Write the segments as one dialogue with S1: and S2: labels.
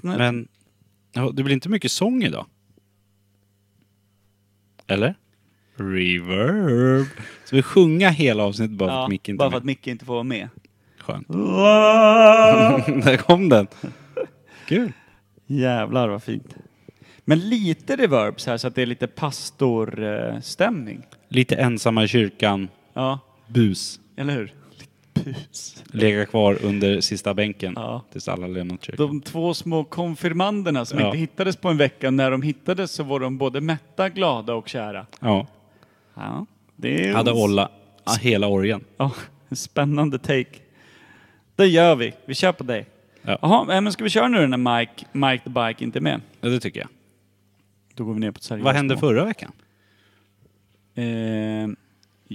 S1: Nej.
S2: Men ja, det blir inte mycket sång idag. Eller? Reverb. Ska vi sjunga hela avsnittet bara för att Micke inte
S1: bara
S2: är
S1: för att
S2: med?
S1: Micke inte får vara med.
S2: Skönt. Där kom den. Kul.
S1: Jävlar vad fint. Men lite reverb så här så att det är lite pastorstämning.
S2: Lite ensamma i kyrkan.
S1: Ja,
S2: Bus.
S1: eller hur? Lite pus.
S2: Lega kvar under sista bänken.
S1: Ja.
S2: Tills alla lämnat kyrkan.
S1: De två små konfirmanderna som
S2: Ja.
S1: inte hittades på en vecka, när de hittades så var de både mätta, glada och kära.
S2: Ja.
S1: Ja, det är
S2: Hade Olla ja, hela orgen.
S1: Ja, en spännande take. Det gör vi. Vi kör på dig.
S2: Ja.
S1: Jaha, eh, men ska vi köra nu när Mike, Mike the Bike inte är med?
S2: Ja, det tycker jag.
S1: Då går vi ner på ett seriöst
S2: Vad hände
S1: mål.
S2: förra veckan?
S1: Eh,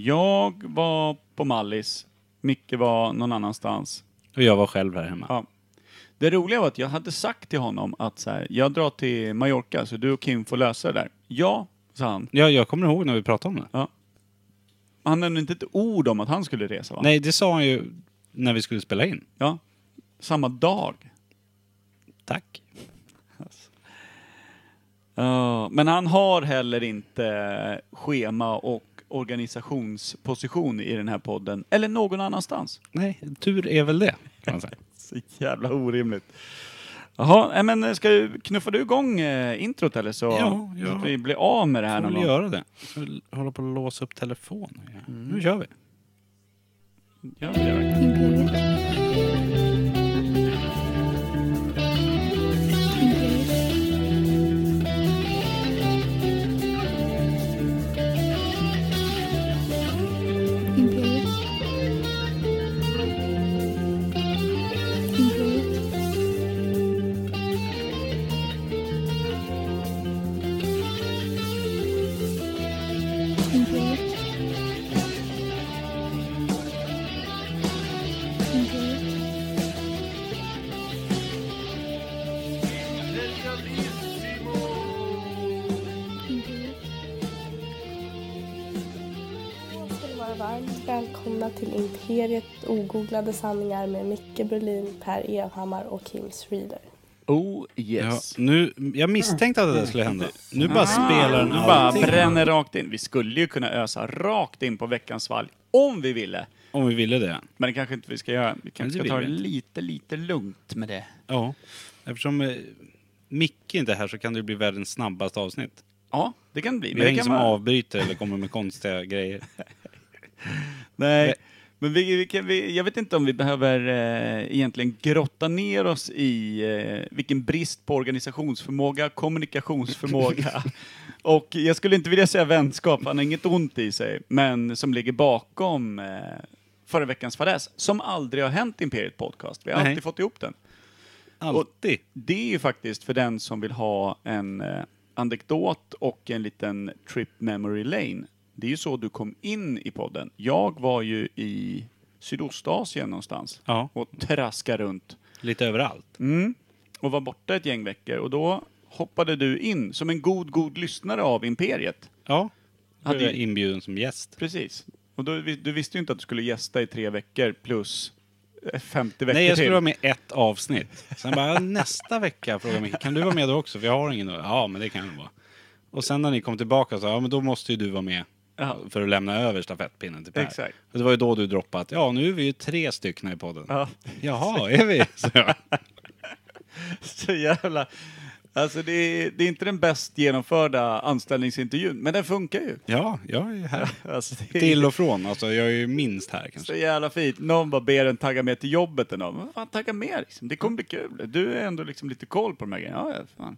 S1: jag var på Mallis. Micke var någon annanstans.
S2: Och jag var själv här hemma.
S1: Ja. Det roliga var att jag hade sagt till honom att så här, jag drar till Mallorca så du och Kim får lösa det där. Ja, sa han.
S2: Ja, jag kommer ihåg när vi pratade om det.
S1: Ja. Han nämnde inte ett ord om att han skulle resa va?
S2: Nej, det sa han ju när vi skulle spela in.
S1: Ja. Samma dag.
S2: Tack.
S1: Ja, Eh, men han har heller inte schema och organisationsposition i den här podden, eller någon annanstans.
S2: Nej, tur är väl det. Kan man säga.
S1: Så jävla orimligt. Jaha, nej, men ska, du- knuffar du igång eh, introt eller så,
S2: Ja, ja.
S1: så att vi blir av med det här
S2: Får
S1: någon
S2: väl
S1: gång?
S2: göra det. Får väl hålla på att låsa upp telefonen. Ja. Nu kör vi.
S1: Mm. Ja, det gör vi.
S3: Imperiet. Imperiet. Imperiet. Imperiet. Imperiet. Imperiet. Imperiet.
S4: ska ni vara varmt välkomna till Imperiet ogooglade sanningar med Micke Berlin, Per Evhammar och Kim Reader.
S1: Oh
S2: Ja,
S1: yes.
S2: nu, jag misstänkte att det där skulle hända. Nu bara spelar den
S1: Ah. Nu bara
S2: allting.
S1: bränner rakt in. Vi skulle ju kunna ösa rakt in på veckans valg om vi ville.
S2: Om vi ville det.
S1: Men det kanske inte vi ska göra. Vi kanske
S2: det
S1: ska ta
S2: vill
S1: det
S2: vi inte.
S1: lite, lite lugnt med det.
S2: Ja. Eftersom eh, Micke inte är här så kan det bli världens snabbaste avsnitt.
S1: Ja, det kan det bli.
S2: Vi
S1: Men
S2: har
S1: det
S2: ingen
S1: kan
S2: som
S1: vara-
S2: avbryter eller kommer med konstiga grejer.
S1: Nej, men vi, vi kan, vi, jag vet inte om vi behöver eh, egentligen grotta ner oss i eh, vilken brist på organisationsförmåga, kommunikationsförmåga och jag skulle inte vilja säga vänskap, han har inget ont i sig, men som ligger bakom eh, förra veckans fadäs, som aldrig har hänt i Imperiet Podcast. Vi har
S2: Nej.
S1: alltid fått ihop den.
S2: Alltid.
S1: Det är ju faktiskt för den som vill ha en eh, anekdot och en liten trip memory lane. Det är ju så du kom in i podden. Jag var ju i Sydostasien någonstans
S2: Ja.
S1: och traskade runt
S2: Lite överallt.
S1: mm, och var borta ett gäng veckor och då hoppade du in som en god, god lyssnare av Imperiet.
S2: Ja.
S1: Hade
S2: Hade jag
S1: ju-
S2: inbjuden som gäst.
S1: Precis. Och då, vi- du visste ju inte att du skulle gästa i tre veckor plus eh, 50 veckor
S2: Nej, jag
S1: till.
S2: skulle vara med ett avsnitt. Sen bara nästa vecka frågade Micke, kan du vara med då också? För jag har ingen. Ja, men det kan jag vara. Och sen när ni kom tillbaka så, ja men då måste ju du vara med.
S1: Ja.
S2: För att lämna över stafettpinnen till Per.
S1: Exakt.
S2: Och det var ju då du droppade att, ja nu är vi ju tre stycken i podden.
S1: Ja.
S2: Jaha, är vi? Så jag.
S1: Så jävla... Alltså det är, det är inte den bäst genomförda anställningsintervjun, men den funkar ju.
S2: Ja, jag är här.
S1: Alltså det är
S2: Till och från, alltså jag är ju minst här
S1: så
S2: kanske.
S1: jävla fint. Någon bara ber en tagga med till jobbet eller något. Men Fan, tagga med liksom. Det kommer bli kul. Du är ändå liksom lite koll på de här grejerna. Ja, ja, fan.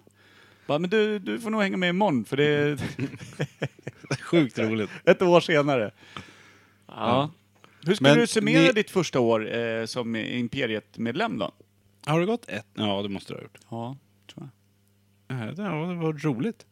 S1: Bara, men du, du får nog hänga med imorgon för det är
S2: Sjukt roligt.
S1: ett år senare. Ja. Hur skulle
S2: Men
S1: du summera
S2: ni-
S1: ditt första år eh, som Imperiet-medlem då?
S2: Har det gått ett? Ja, det måste du ha gjort.
S1: Ja, tror jag.
S2: Ja, det har varit roligt.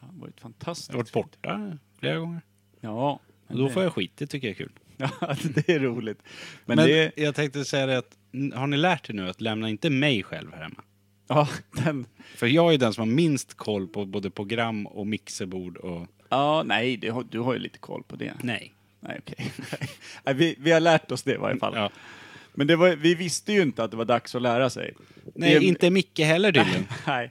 S1: Det har varit
S2: Jag
S1: fantastiskt.
S2: har varit borta flera gånger.
S1: Ja. men
S2: Och då
S1: det-
S2: får jag skit, det tycker jag är kul.
S1: Ja, det är roligt. Men,
S2: Men,
S1: det är...
S2: jag tänkte säga det att, n- har ni lärt er nu att lämna inte mig själv här hemma?
S1: Ja, den...
S2: För jag är den som har minst koll på både program och mixerbord och...
S1: Ja, nej, det har, du har ju lite koll på det.
S2: Nej.
S1: Nej, okej. Nej, vi, vi har lärt oss det i varje fall.
S2: Ja.
S1: Men det var, vi visste ju inte att det var dags att lära sig.
S2: Nej,
S1: Det-
S2: inte Micke heller tydligen.
S1: Nej, Nej,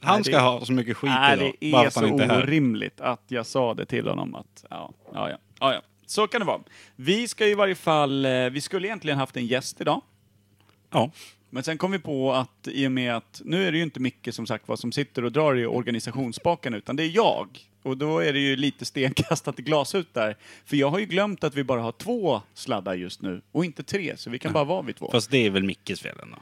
S2: Han ska
S1: det-
S2: ha så mycket skit idag.
S1: Nej det
S2: bara för
S1: är
S2: att
S1: så
S2: han inte är här.
S1: orimligt att jag sa det till honom. Att, ja, ja, ja, ja, ja. Så kan det vara. Vi ska i varje fall, eh, vi skulle egentligen haft en gäst idag.
S2: Ja.
S1: Men sen kom vi på att i och med att nu är det ju inte Micke som sagt vad som sitter och drar i organisationsspaken utan det är jag. Och då är det ju lite stenkastat i glashut där. För jag har ju glömt att vi bara har två sladdar just nu och inte tre, så vi kan bara vara vid två.
S2: Fast det är väl Mickes fel ändå.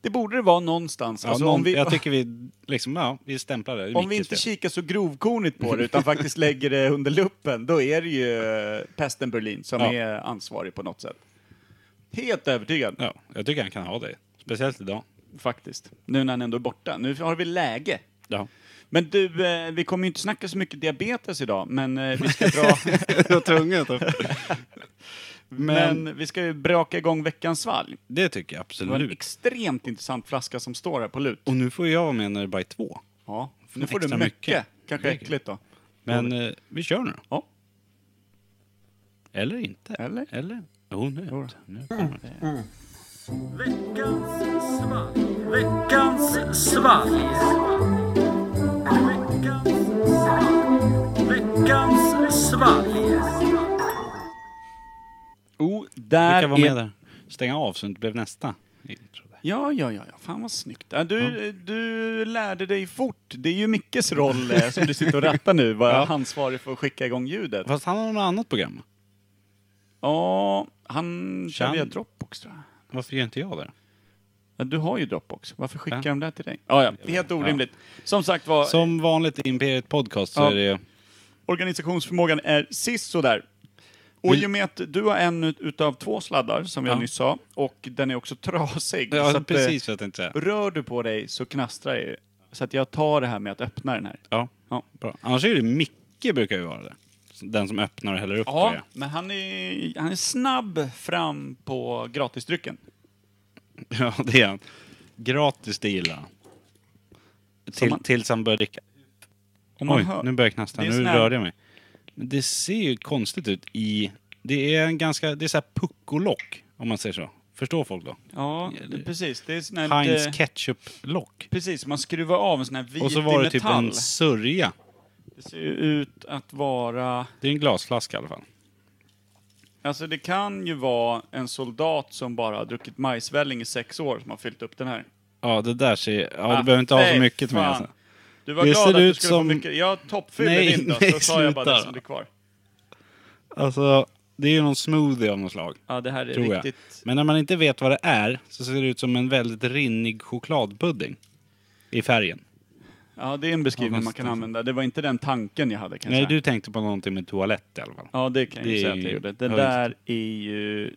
S1: Det borde det vara någonstans.
S2: Ja,
S1: Alltså,
S2: någon,
S1: om vi,
S2: Jag tycker vi, liksom, ja, vi stämplar det. Det är
S1: om vi
S2: Mickes
S1: inte
S2: fel.
S1: kikar så grovkornigt på det utan faktiskt lägger det under luppen, då är det ju eh, pesten Berlin som
S2: Ja.
S1: är ansvarig på något sätt. Helt övertygad.
S2: Ja, jag tycker han kan ha det. Speciellt idag.
S1: Faktiskt. Nu när han ändå är borta. Nu har vi läge.
S2: Ja.
S1: Men du, eh, vi kommer ju inte snacka så mycket diabetes idag, men eh, vi ska dra...
S2: det var tvunget.
S1: men... vi ska ju braka igång veckans svalg.
S2: Det tycker jag
S1: Det var en
S2: absolut.
S1: extremt intressant flaska som står här på lut.
S2: Och nu får jag vara med när det bara är två.
S1: Ja,
S2: Får
S1: nu får du
S2: extra
S1: mycket.
S2: mycket.
S1: Kanske
S2: Mycket.
S1: äckligt då.
S2: Men eh, vi kör nu då.
S1: Ja.
S2: Eller inte.
S1: Eller?
S2: Eller? Jo, nu.
S1: Jo Mm.
S2: nu kommer det.
S1: Oh, där
S2: Vilka var med
S1: är...
S2: där? Stänga av så det inte blev nästa. intro där.
S1: Ja, ja, ja, ja. Fan vad snyggt. Ja, Du, du lärde dig fort. Det är ju Mickes roll eh, som du sitter och rattar nu, var
S2: Ja.
S1: ansvarig för att skicka igång ljudet.
S2: Fast han har något annat program.
S1: Ja, han kör
S2: Chan-
S1: via Dropbox tror jag.
S2: Varför gör inte jag det?
S1: Ja, du har ju Dropbox. Varför skickar
S2: Ja.
S1: de det till dig? Ja, ja. Det är helt orimligt. Som sagt var,
S2: Som vanligt i Imperiet Podcast så
S1: Ja.
S2: är det...
S1: organisationsförmågan är sisådär. Och i och med att du har en ut- utav två sladdar, som jag
S2: Ja.
S1: nyss sa, och den är också trasig. så
S2: Ja,
S1: att, eh,
S2: precis vad jag tänkte säga.
S1: Rör du på dig så knastrar det. Så att jag tar det här med att öppna den här.
S2: Ja,
S1: Ja.
S2: bra. Annars är det Micke brukar ju vara det. Den som öppnar och häller upp. tror
S1: Ja,
S2: jag.
S1: men han är, han är snabb fram på gratisdrycken.
S2: ja, det är han. Gratis, det gillar han. Till,
S1: man-
S2: Tills han börjar dricka.
S1: Om man
S2: Oj,
S1: hör-
S2: nu börjar jag knastra.
S1: Det är
S2: Nu
S1: sån här-
S2: rörde jag mig. Men det ser ju konstigt ut i... Det är en ganska... Det är så här puckolock, om man säger så. Förstår folk då?
S1: Ja, det, precis. Det är sån här
S2: Heinz
S1: lite-
S2: ketchup-lock.
S1: Precis, man skruvar av en sån här vit
S2: Och så var det
S1: i
S2: typ
S1: metall.
S2: en sörja.
S1: Det ser ju ut att vara...
S2: Det är en glasflaska i alla fall.
S1: Alltså det kan ju vara en soldat som bara har druckit majsvälling i sex år som har fyllt upp den här.
S2: Ja, det där ser... Ja,
S1: Ah,
S2: du behöver inte ha så
S1: fy
S2: mycket med.
S1: fan.
S2: Alltså.
S1: Du var
S2: Det
S1: glad
S2: ser
S1: att du
S2: ut
S1: skulle
S2: som-
S1: få mycket. Jag toppfyller
S2: Nej,
S1: din då,
S2: nej,
S1: så tar jag bara det
S2: sluta.
S1: som blir kvar.
S2: alltså, det är ju någon smoothie av något slag.
S1: Ja, det här är
S2: Tror jag.
S1: riktigt...
S2: Men när man inte vet vad det är så ser det ut som en väldigt rinnig chokladpudding. I färgen.
S1: Ja, det är en beskrivning
S2: Ja, fast-
S1: man kan använda. Det var inte den tanken jag hade kan jag
S2: Nej,
S1: säga.
S2: du tänkte på någonting med toalett i alla fall.
S1: Ja, det kan jag
S2: Det
S1: ju
S2: är
S1: säga att jag
S2: ju-
S1: gjorde. Det
S2: ja,
S1: där är ju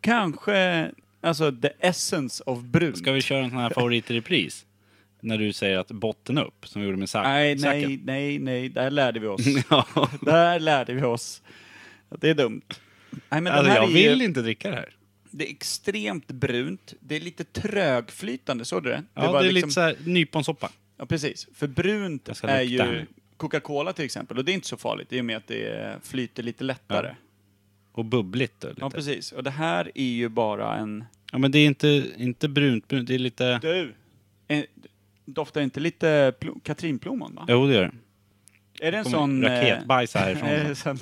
S1: kanske... Alltså, the essence of brun.
S2: Ska vi köra en sån här favorit i repris? När du säger att botten upp, som vi gjorde med Zac.
S1: Nej,
S2: Zacken.
S1: nej, nej, nej. Där lärde vi oss.
S2: ja.
S1: Där lärde vi oss att det är dumt. Nej, men
S2: Alltså,
S1: den här
S2: jag
S1: är ju-
S2: vill inte dricka det här.
S1: Det är extremt brunt. Det är lite trögflytande, såg du det?
S2: Ja, det,
S1: var liksom-
S2: är lite så här nyponsoppa.
S1: Ja, precis. För brunt
S2: Jag ska
S1: är
S2: lukta
S1: ju
S2: här.
S1: Coca-Cola till exempel, och det är inte så farligt i och med att det flyter lite lättare. Ja,
S2: Och bubbligt. Och lite. Ja,
S1: precis. Och det här är ju bara en...
S2: men det är inte, inte brunt, brunt, det är lite...
S1: Du! En... Doftar inte lite pl- katrinplommon, va?
S2: Jo, det gör det.
S1: Är det en
S2: Kommer
S1: sån... eh,
S2: raketbajs härifrån.
S1: är det sån...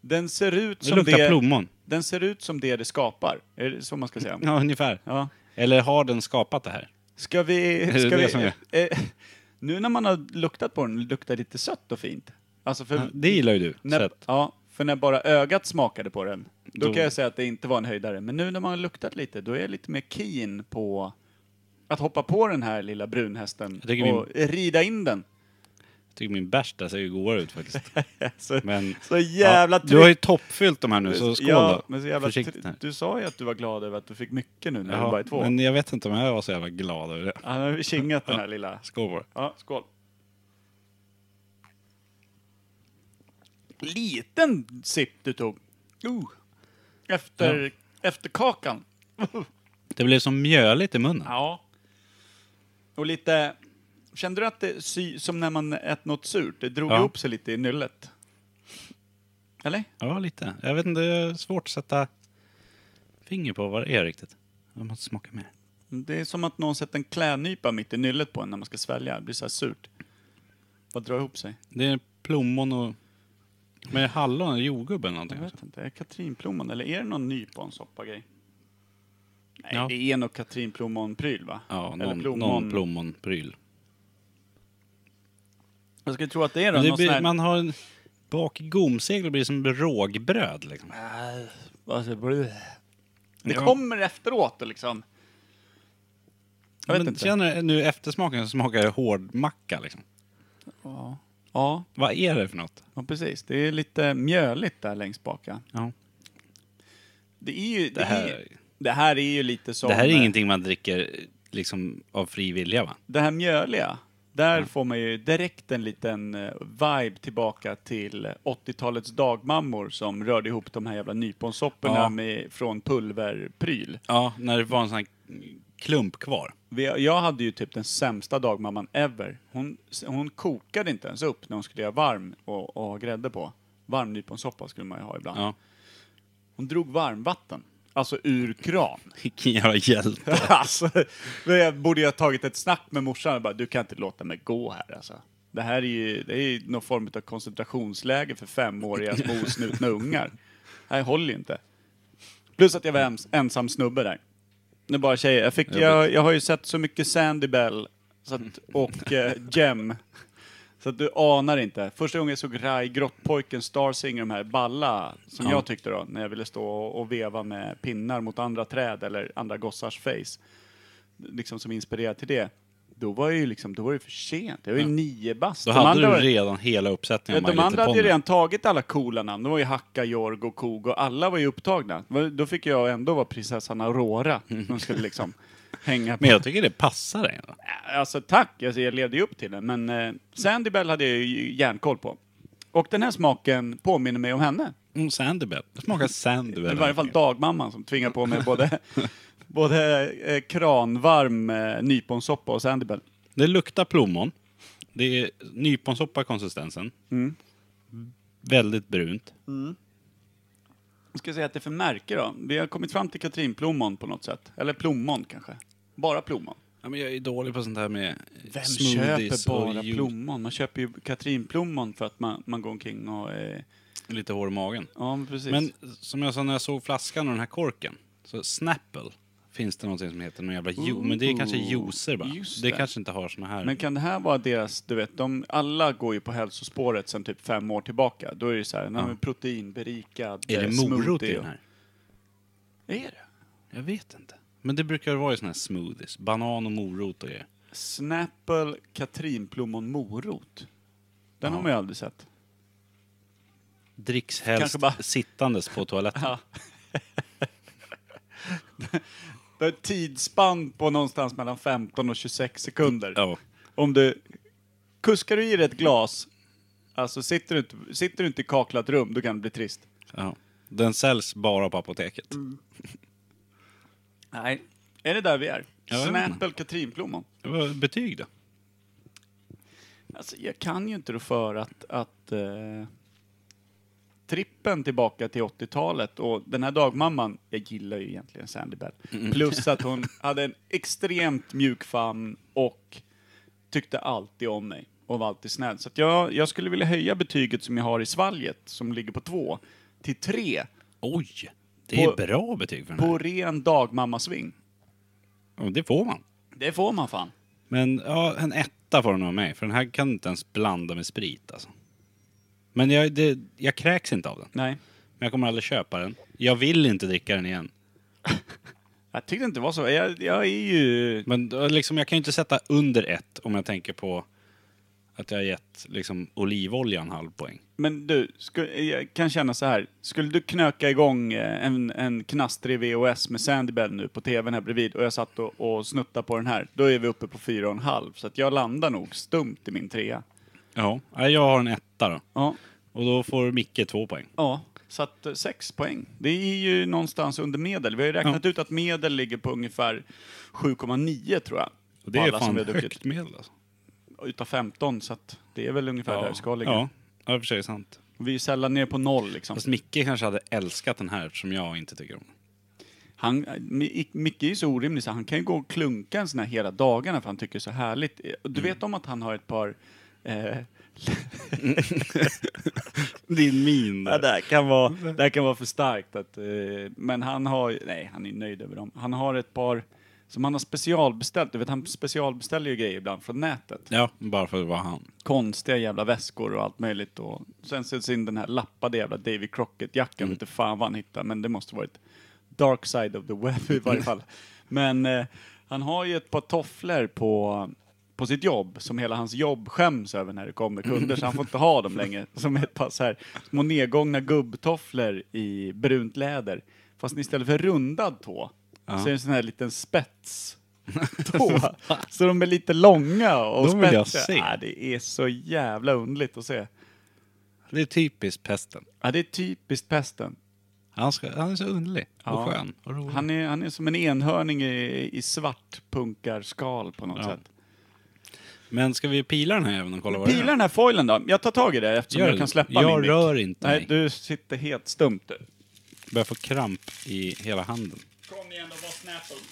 S1: Den ser ut
S2: Det
S1: som
S2: luktar
S1: det...
S2: plommon.
S1: Den ser ut som det det skapar. Är det så man ska säga?
S2: Ja, ungefär.
S1: Ja.
S2: Eller har den skapat det här?
S1: Ska vi...
S2: det
S1: Ska
S2: det
S1: vi
S2: som är?
S1: eh, nu när man har luktat på den, det luktar lite sött och fint. Alltså för,
S2: Ja, Det gillar ju du. så
S1: när,
S2: att,
S1: ja, för när bara ögat smakade på den, då,
S2: Då-
S1: kan jag säga att det inte var en höjdare. Men nu när man har luktat lite, då är jag lite mer keen på att hoppa på den här lilla brunhästen
S2: Jag tycker
S1: och rida in den.
S2: jag tycker min bärs där ser ju godare ut faktiskt.
S1: så,
S2: Men,
S1: så jävla
S2: ja, Du har ju toppfyllt de här nu, så skål
S1: ja,
S2: då.
S1: men så jävla
S2: Försiktigt
S1: tri-
S2: här.
S1: Du sa ju att du var glad över att du fick mycket nu när det
S2: Ja,
S1: bara är två.
S2: men jag vet inte om jag var så jävla glad över det.
S1: Han har kingat den här lilla.
S2: Skål på det.
S1: Ja, skål. Liten sipp du tog. Uh. Efter, efter kakan.
S2: Det blev som mjöligt i munnen.
S1: Ja. Och lite... Kände du att det sy, som när man äter något surt, det drog
S2: Ja.
S1: ihop sig lite i nyllet? Eller?
S2: Ja, lite. Jag vet inte, det är svårt att sätta finger på vad det är riktigt. Jag måste smaka mer.
S1: Det är som att någon sätter en klädnypa mitt i nyllet på en när man ska svälja. Det blir så här surt. Vad drar ihop sig?
S2: Det är plommon och... Men är det hallon eller jordgubbe eller
S1: Jag
S2: någonting?
S1: vet
S2: också?
S1: inte. Är det katrinplommon eller är det någon nyponsoppa-grej? Nej,
S2: Ja.
S1: det är nog katrinplommon-pryl va?
S2: Ja,
S1: Eller
S2: någon, någon plommonpryl.
S1: Jag skulle tro att det är
S2: Men
S1: någon
S2: det
S1: sån
S2: blir,
S1: här...
S2: man har en... Bak i gomsegel blir det som rågbröd liksom.
S1: Äh, Det
S2: Ja.
S1: kommer efteråt och liksom. Jag vet
S2: Men
S1: inte.
S2: Känner du nu eftersmaken så smakar det hårdmacka liksom.
S1: Ja. Ja,
S2: Vad är det för något?
S1: ja, precis. Det är lite mjöligt där längst bak. ja.
S2: Ja.
S1: Det, är ju, det,
S2: Det här-
S1: är, ju- det här är ju lite som...
S2: Det här är
S1: eh,
S2: ingenting man dricker eh, liksom av fri vilja va?
S1: Det här mjöliga, där får man ju direkt en liten eh, vibe tillbaka till 80-talets dagmammor som rörde ihop de här jävla nyponsopporna
S2: Ja.
S1: med, från pulverpryl.
S2: Ja, när det var en sån här klump kvar.
S1: Vi- Jag hade ju typ den sämsta dagmamman ever. Hon, hon kokade inte ens upp när hon skulle göra varm och, och ha grädde på. Varm nyponsoppa skulle man ju ha ibland.
S2: Ja.
S1: Hon drog varmvatten. Alltså ur kran.
S2: Vilken jävla hjälte.
S1: alltså, men jag borde ju ha tagit ett snack med morsan och bara, du kan inte låta mig gå här alltså. Det här är ju, det är ju någon form av koncentrationsläger för femåriga små osnutna ungar. Det här håller ju inte. Plus att jag var ens, ensam snubbe där. Det är bara tjejer. Jag, fick, jag, jag har ju sett så mycket Sandy Bell så att, och eh, Gem. Så att du anar inte. Första gången jag såg Rai, Grottpojken, Starsinger, de här balla, som jag tyckte då, när jag ville stå och, och veva med pinnar mot andra träd eller andra gossars face, liksom som inspirerad till det. Då var jag ju liksom, då var det för sent. Jag var ju nio bast.
S2: Då
S1: De
S2: hade
S1: andra
S2: du
S1: var-
S2: redan hela
S1: Ja,
S2: uppsättningen av
S1: de
S2: My
S1: andra
S2: Little
S1: hade ju
S2: Pony.
S1: redan tagit alla coola namn. De var ju Hacka, Jorg och Kog och alla var ju upptagna. Det var- Då fick jag ändå vara prinsessan Aurora. De skulle liksom hänga på.
S2: Men jag tycker det passar dig. ändå.
S1: Alltså tack, alltså, jag levde ju upp till det. Men eh, Sandy Bell hade jag ju järnkoll på. Och den här smaken påminner mig om henne.
S2: Mm, Sandybell. Det smakar
S1: I
S2: Sandybell.
S1: varje fall dagmamman som tvingar på mig både, både eh, kranvarm eh, nyponsoppa och Sandy Bell.
S2: Det luktar plommon. Det är nyponsoppa konsistensen.
S1: Mm.
S2: Väldigt brunt.
S1: Jag ska säga att det är för märke då. Vi har kommit fram till katrinplommon på något sätt. Eller plommon kanske. Bara plommon.
S2: Ja, men jag är dålig på sånt här med
S1: Vem
S2: smoothies
S1: köper bara
S2: och jul-
S1: plommon? Man köper ju katrinplommon för att man, man går omkring och... Eh,
S2: lite hår i magen.
S1: ja, men precis.
S2: Men som jag sa när jag såg flaskan och den här korken. Så Snapple finns det någonting som heter. Någon jävla ju- men det är kanske
S1: Ooh,
S2: juicer bara.
S1: just
S2: Det,
S1: det.
S2: kanske inte har såna här.
S1: Men kan det här vara deras, du vet, de, alla går ju på hälsospåret sedan typ fem år tillbaka. Då är det så här, ja. proteinberikad
S2: är
S1: eh,
S2: det morot i
S1: smoothie
S2: den här?
S1: och- Är det?
S2: Jag vet inte. Men det brukar vara i såna här smoothies. Banan och morot och grejer.
S1: Snapple, katrinplommon, morot. Den har man ju aldrig sett.
S2: Dricks helst
S1: Kanske bara-
S2: sittandes på toaletten.
S1: Ja. Det är ett tidsspann på någonstans mellan 15 och 26 sekunder.
S2: Ja.
S1: Om du kuskar du i dig ett glas, alltså sitter du, inte- sitter du inte i kaklat rum, då kan det bli trist.
S2: ja. Den säljs bara på apoteket.
S1: Nej. Är det där vi är?
S2: Ja, jag vet
S1: Snapple, katrinplommon.
S2: Vad- Betyg då?
S1: Alltså, jag kan ju inte rå för att, att eh, trippen tillbaka till 80-talet och den här dagmamman, jag gillar ju egentligen Sandy Bell, plus att hon hade en extremt mjuk famn och tyckte alltid om mig och var alltid snäll. Så att jag, jag skulle vilja höja betyget som jag har i svalget, som ligger på två, till tre
S2: Oj! Det är
S1: På-
S2: bra betyg för den
S1: på
S2: här.
S1: ren dagmammasving.
S2: Ja, Det får man.
S1: Det får man fan.
S2: Men ja, en etta får den av mig. För den här kan du inte ens blanda med sprit alltså. Men jag, det, jag kräks inte av den.
S1: Nej.
S2: Men jag kommer aldrig köpa den. Jag vill inte dricka den igen.
S1: Jag tyckte inte det var så. Jag, jag är ju...
S2: Men då, liksom, jag kan ju inte sätta under ett om jag tänker på att jag har gett liksom, olivolja en halv poäng.
S1: Men du, sku, jag kan känna så här. Skulle du knöka igång eh, en, en knastrig VOS med Sandybell nu på tvn här bredvid och jag satt och, och snuttade på den här, då är vi uppe på fyra och en halv. Så att jag landar nog stumt i min trea.
S2: Ja. Nej, jag har en etta då.
S1: Ja.
S2: Och då får Micke två poäng.
S1: Ja, så att eh, sex poäng. Det är ju någonstans under medel. Vi har ju räknat ut att medel ligger på ungefär 7,9 tror jag.
S2: Och det
S1: på
S2: är
S1: alla som
S2: fan
S1: vi har druckit.
S2: högt medel alltså.
S1: Utav 15, så att det är väl ungefär där det ska ligga.
S2: ja. ja, i och för sig är sant.
S1: Vi är sällan ner på noll liksom.
S2: Fast Micke kanske hade älskat den här som jag inte tycker om.
S1: Han, eh, Mi- Micke är ju så orimlig så han kan ju gå och klunka en sån här hela dagarna för han tycker det är så härligt. Eh, Och Du vet om att han har ett par eh,
S2: Din min
S1: Ja,
S2: där.
S1: det, här kan vara, det här kan vara för starkt. Att, eh, men han har, nej han är nöjd över dem. Han har ett par som han har specialbeställt. Du vet han specialbeställer ju grejer ibland från nätet.
S2: Ja, bara för att vara han.
S1: Konstiga jävla väskor och allt möjligt. Och sen sätts in den här lappade jävla Davy Crockett-jackan. Mm. Inte fan vad han hittar men det måste varit dark side of the web i varje fall. Men eh, han har ju ett par tofflor på på sitt jobb, som hela hans jobb skäms över när det kommer kunder, så han får inte ha dem längre. Som ett par så här små nedgångna gubbtofflor i brunt läder. Fast istället för rundad tå, så är det en sån här liten spets. Tå. Så de är lite långa och
S2: De vill jag
S1: spetsiga.
S2: se.
S1: Ja, det är så jävla underligt att se.
S2: Det är typiskt pesten.
S1: Ja, det är typiskt pesten.
S2: Han, ska, han är så underlig och
S1: Ja.
S2: skön och rolig.
S1: Han är, han är som en enhörning i, i svart punkarskal på något
S2: Ja.
S1: sätt.
S2: Men ska vi pila den här även och kolla vad
S1: Pila
S2: det är?
S1: den här foilen då. Jag tar tag i det eftersom
S2: Gör
S1: jag
S2: det.
S1: kan släppa
S2: Jag
S1: min mick.
S2: rör inte
S1: Nej,
S2: mig.
S1: du sitter helt stumt du.
S2: Börjar få kramp i hela handen.
S1: Kom igen och var snäpp upp.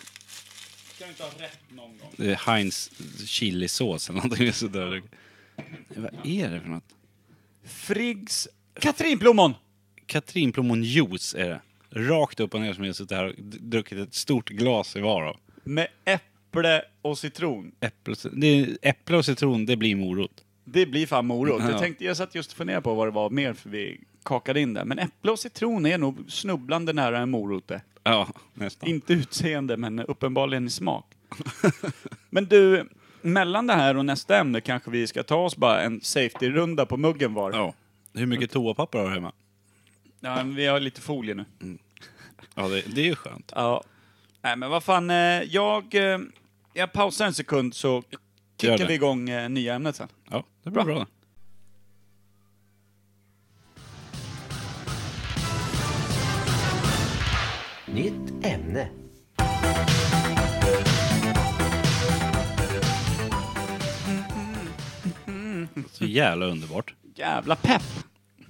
S1: Ska du inte ha rätt någon gång?
S2: Det är eh, Heinz chilisås eller någonting sådär. Vad är det för något?
S1: Friggs... Katrinplommon!
S2: Katrinplommonjuice är det. Rakt upp och ner som jag suttit här och d- druckit ett stort glas i var av.
S1: Med äpple och citron.
S2: Äpple, och cit- det är, äpple och citron, det blir morot.
S1: Det blir fan morot.
S2: Ja.
S1: Jag, tänkte, jag satt just och funderade på vad det var mer för vi kakade in det. Men äpple och citron är nog snubblande nära en morot det.
S2: Ja, nästan.
S1: Inte utseende, men uppenbarligen i smak. men du, mellan det här och nästa ämne kanske vi ska ta oss bara en safety-runda på muggen var.
S2: Ja. Hur mycket toapapper har du hemma?
S1: Ja, men vi har lite folie nu.
S2: Mm. Ja, det, det är ju skönt.
S1: Ja. Nej, men vad fan, eh, jag, eh, jag pausar en sekund så
S2: Gör
S1: kickar
S2: det.
S1: vi igång eh, nya ämnet sen.
S2: Ja, det blir bra. bra.
S5: Nytt ämne.
S2: Så jävla underbart.
S1: Jävla pepp!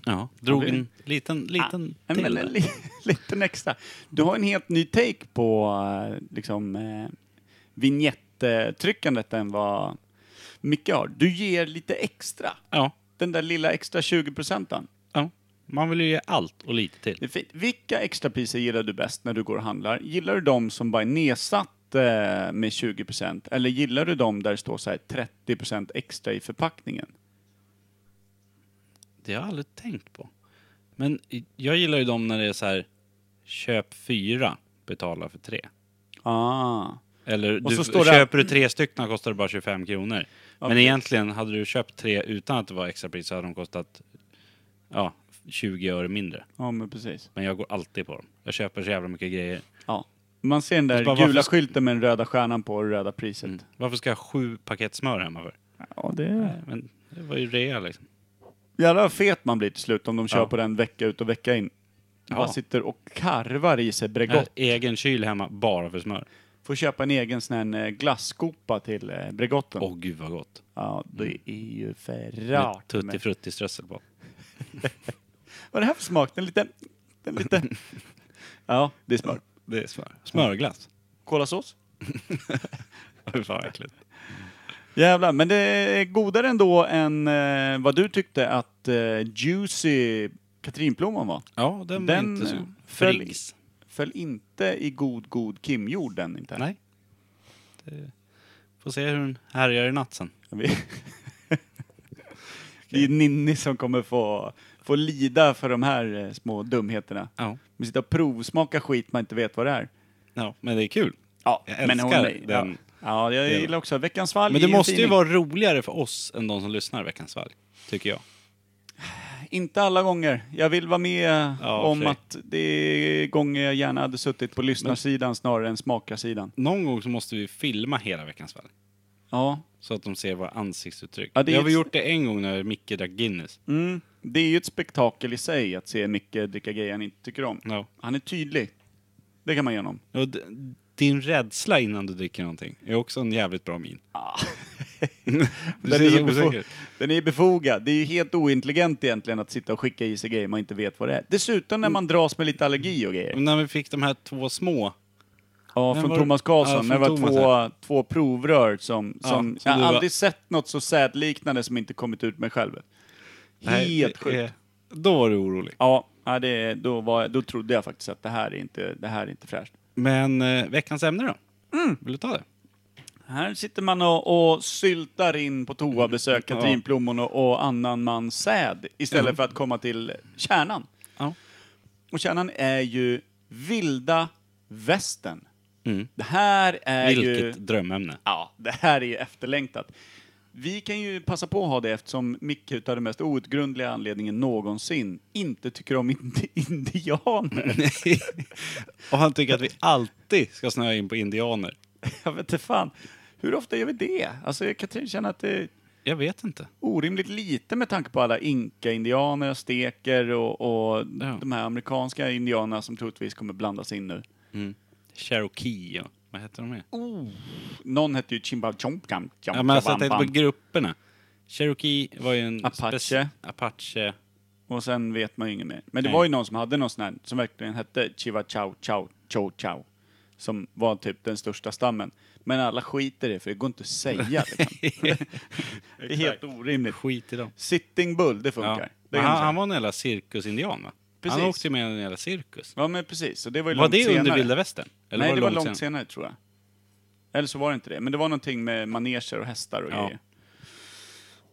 S2: Ja, drog
S1: Ja, det-
S2: en liten, liten
S1: Ah,
S2: till.
S1: men, en li, liten extra. Du har en helt ny take på eh, liksom, eh, vignettryckandet än vad Micke har. Du ger lite extra.
S2: ja,
S1: Den där lilla extra 20 procenten.
S2: ja, man vill ju ge allt och lite till.
S1: Det är fint. Vilka extrapriser gillar du bäst när du går och handlar? Gillar du de som bara är nedsatt eh, med 20 eller gillar du de där det står så här 30 extra i förpackningen?
S2: Det har jag aldrig tänkt på. Men i- jag gillar ju dem när det är så här, köp fyra, betala för tre.
S1: Ah.
S2: Eller
S1: Och
S2: du,
S1: så står det-
S2: köper du tre stycken kostar det bara 25 kronor. Men
S1: precis.
S2: egentligen, hade du köpt tre utan att det var extrapris så hade de kostat ja, 20 öre mindre.
S1: Ja, men precis.
S2: Men jag går alltid på dem. Jag köper så jävla mycket grejer.
S1: Ja. Man ser den där
S2: Alltså
S1: gula
S2: bara, varför sk- Mm.
S1: skylten med den röda stjärnan på och det röda priset.
S2: Varför ska jag ha sju paket smör hemma för?
S1: Ja, det är...
S2: Men det var ju rea liksom.
S1: Jävlar vad fet man blir till slut om de kör
S2: Ja.
S1: på den vecka ut och vecka in.
S2: Ja.
S1: Bara sitter och karvar i sig
S2: Jag har
S1: Bregott.
S2: egen kyl hemma bara för smör.
S1: Får köpa en egen sån här eh, glasskopa till eh, Bregotten.
S2: Åh gud vad gott.
S1: Ja, det är ju för
S2: Med
S1: rart. med-
S2: tuttifrutti-strössel på.
S1: Vad är det här för smak? Den lite... Den lite... Ja, det är smör.
S2: Det är smör. Smörglass.
S1: Kolasås?
S2: Fy fan vad äckligt.
S1: Jävlar, men det är godare ändå än eh, vad du tyckte att eh, Juicy Katrinplommon var.
S2: Ja, den, var
S1: Den,
S2: inte
S1: eh,
S2: så...
S1: föll-
S2: Friggs.
S1: Föll inte i god, god Kimjord den inte.
S2: Nej. Det... Får se hur den härjar i natt sen.
S1: Vi... det är Ninni som kommer få, få lida för de här eh, små dumheterna.
S2: Ja.
S1: Vi sitter och provsmakar skit man inte vet vad det är.
S2: Ja, men det är kul.
S1: Ja,
S2: Jag älskar den.
S1: Ja, ja jag
S2: delen.
S1: gillar också Veckans valg.
S2: Men
S1: är
S2: det
S1: en
S2: måste ju
S1: tidning.
S2: vara roligare för oss än de som lyssnar Veckans valg, tycker jag.
S1: Inte alla gånger. Jag vill vara med eh,
S2: Ja,
S1: om
S2: okej.
S1: att det är gånger jag gärna hade suttit på lyssnarsidan snarare än smakarsidan.
S2: Någon gång så måste vi filma hela Veckans valg,
S1: Ja.
S2: så att de ser våra ansiktsuttryck.
S1: Ja, det är
S2: jag har
S1: ett-
S2: gjort det en gång när Micke drack Guinness.
S1: Mm. Det är ju ett spektakel i sig att se Micke dricka grejer han inte tycker om.
S2: Ja.
S1: Han är tydlig. Det kan man ge honom.
S2: Och d- din rädsla innan du dricker någonting är också en jävligt bra min. du
S1: Den Ah. är,
S2: ser så
S1: ju befo-
S2: osäker ut.
S1: den är ju befogad. Det är ju helt ointelligent egentligen att sitta och skicka i sig grejer man inte vet vad det är. Dessutom när man dras med lite allergi och grejer.
S2: Och När vi fick de här två små
S1: Ja,
S2: Mm. Men
S1: från
S2: var-
S1: Thomas
S2: ja,
S1: Karlsson.
S2: från
S1: det var
S2: Thomas
S1: två, två provrör som...
S2: Ja,
S1: som
S2: som
S1: jag
S2: du
S1: har
S2: var-
S1: aldrig sett något så sädliknande som inte kommit ut med själv.
S2: Nej,
S1: Helt
S2: det
S1: sjukt.
S2: är- Då var du orolig.
S1: Ja, ja, det, då, var, då trodde jag faktiskt att det här är inte, det här är inte fräscht.
S2: Men eh, veckans ämne då?
S1: Mm.
S2: Vill du ta det?
S1: Här sitter man och, och syltar in på toabesök,
S2: Mm.
S1: katrinplommon och, och annan man säd istället för att komma till kärnan.
S2: Ja.
S1: Och kärnan är ju vilda västern.
S2: Mm.
S1: Det här är ju...
S2: Vilket drömämne.
S1: Ja, det här är ju efterlängtat. Vi kan ju passa på att ha det eftersom Micke utav den mest outgrundliga anledningen någonsin inte tycker om indi- indianer.
S2: Och han tycker att vi alltid ska snöa in på indianer.
S1: Jag vet inte fan. Hur ofta gör vi det? Alltså Katrin känner att det är
S2: Jag vet inte.
S1: orimligt lite med tanke på alla inka-indianer, steker och, och
S2: Ja.
S1: de här amerikanska indianerna som troligtvis kommer blandas in nu.
S2: Cherokee och... Vad heter de mer?
S1: Oh. Någon hette ju Chimbachomkam.
S2: Ja, men alltså jag tänkte på grupperna. Cherokee var ju en...
S1: Apache.
S2: spec- Apache.
S1: Och sen vet man ju inget mer. Men det
S2: Nej.
S1: var ju någon som hade någon sån här, som verkligen hette Chiva Chow Chow Chow Chow. Som var typ den största stammen. Men alla skiter i det, för det går inte att säga. Liksom. det är helt orimligt.
S2: Skit i dem.
S1: Sitting Bull, det
S2: Ja.
S1: funkar. Det
S2: Men
S1: kan man
S2: han,
S1: säga.
S2: han var en jävla cirkusindian va?
S1: Precis.
S2: Han åkte ju med i en jävla cirkus.
S1: Ja, men precis. Och det var ju
S2: Var
S1: långt
S2: det
S1: senare.
S2: under vilda västern? Eller
S1: Nej, det var långt
S2: långt
S1: senare. tror jag. Eller så var det inte det. Men det var någonting med maneger och hästar och
S2: Ja.
S1: grejer.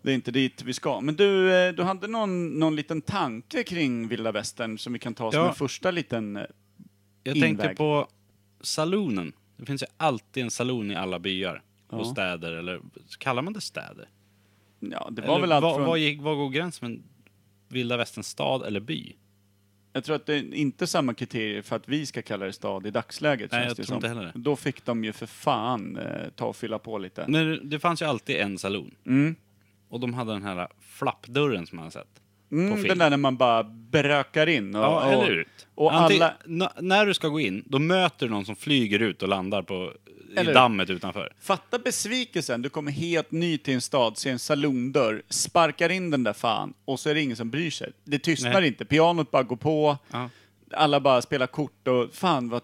S1: Det är inte dit vi ska. Men du, eh, du hade någon, någon liten tanke kring vilda västern som vi kan ta som
S2: Ja.
S1: en första liten... eh,
S2: Jag
S1: Inväg.
S2: tänkte på saloonen. Det finns ju alltid en saloon i alla byar
S1: Ja.
S2: och städer. Eller kallar man det städer?
S1: Ja, det var
S2: Eller
S1: väl allt
S2: vad,
S1: från...
S2: vad, gick- vad går gränsen mellan vilda västerns stad eller by?
S1: Jag tror att det är inte samma kriterier för att vi ska kalla det stad i dagsläget.
S2: Nej,
S1: känns
S2: jag
S1: det
S2: tror
S1: som.
S2: inte heller det.
S1: Då fick de ju för fan eh, ta och fylla på lite.
S2: Men det fanns ju alltid en saloon.
S1: Mm.
S2: Och de hade den här flappdörren som man har sett. på
S1: Mm,
S2: film.
S1: den där när man bara brökar in. Och,
S2: Ja, eller hur?
S1: Och, och
S2: Anting-
S1: alla...
S2: n- när du ska gå in, då möter du någon som flyger ut och landar på, i
S1: Eller hur?
S2: dammet utanför.
S1: Fatta besvikelsen, du kommer helt ny till en stad, ser en salondörr, sparkar in den där fan och så är det ingen som bryr sig. Det tystnar
S2: Nej.
S1: inte, pianot bara går på,
S2: Ja.
S1: alla bara spelar kort och fan vad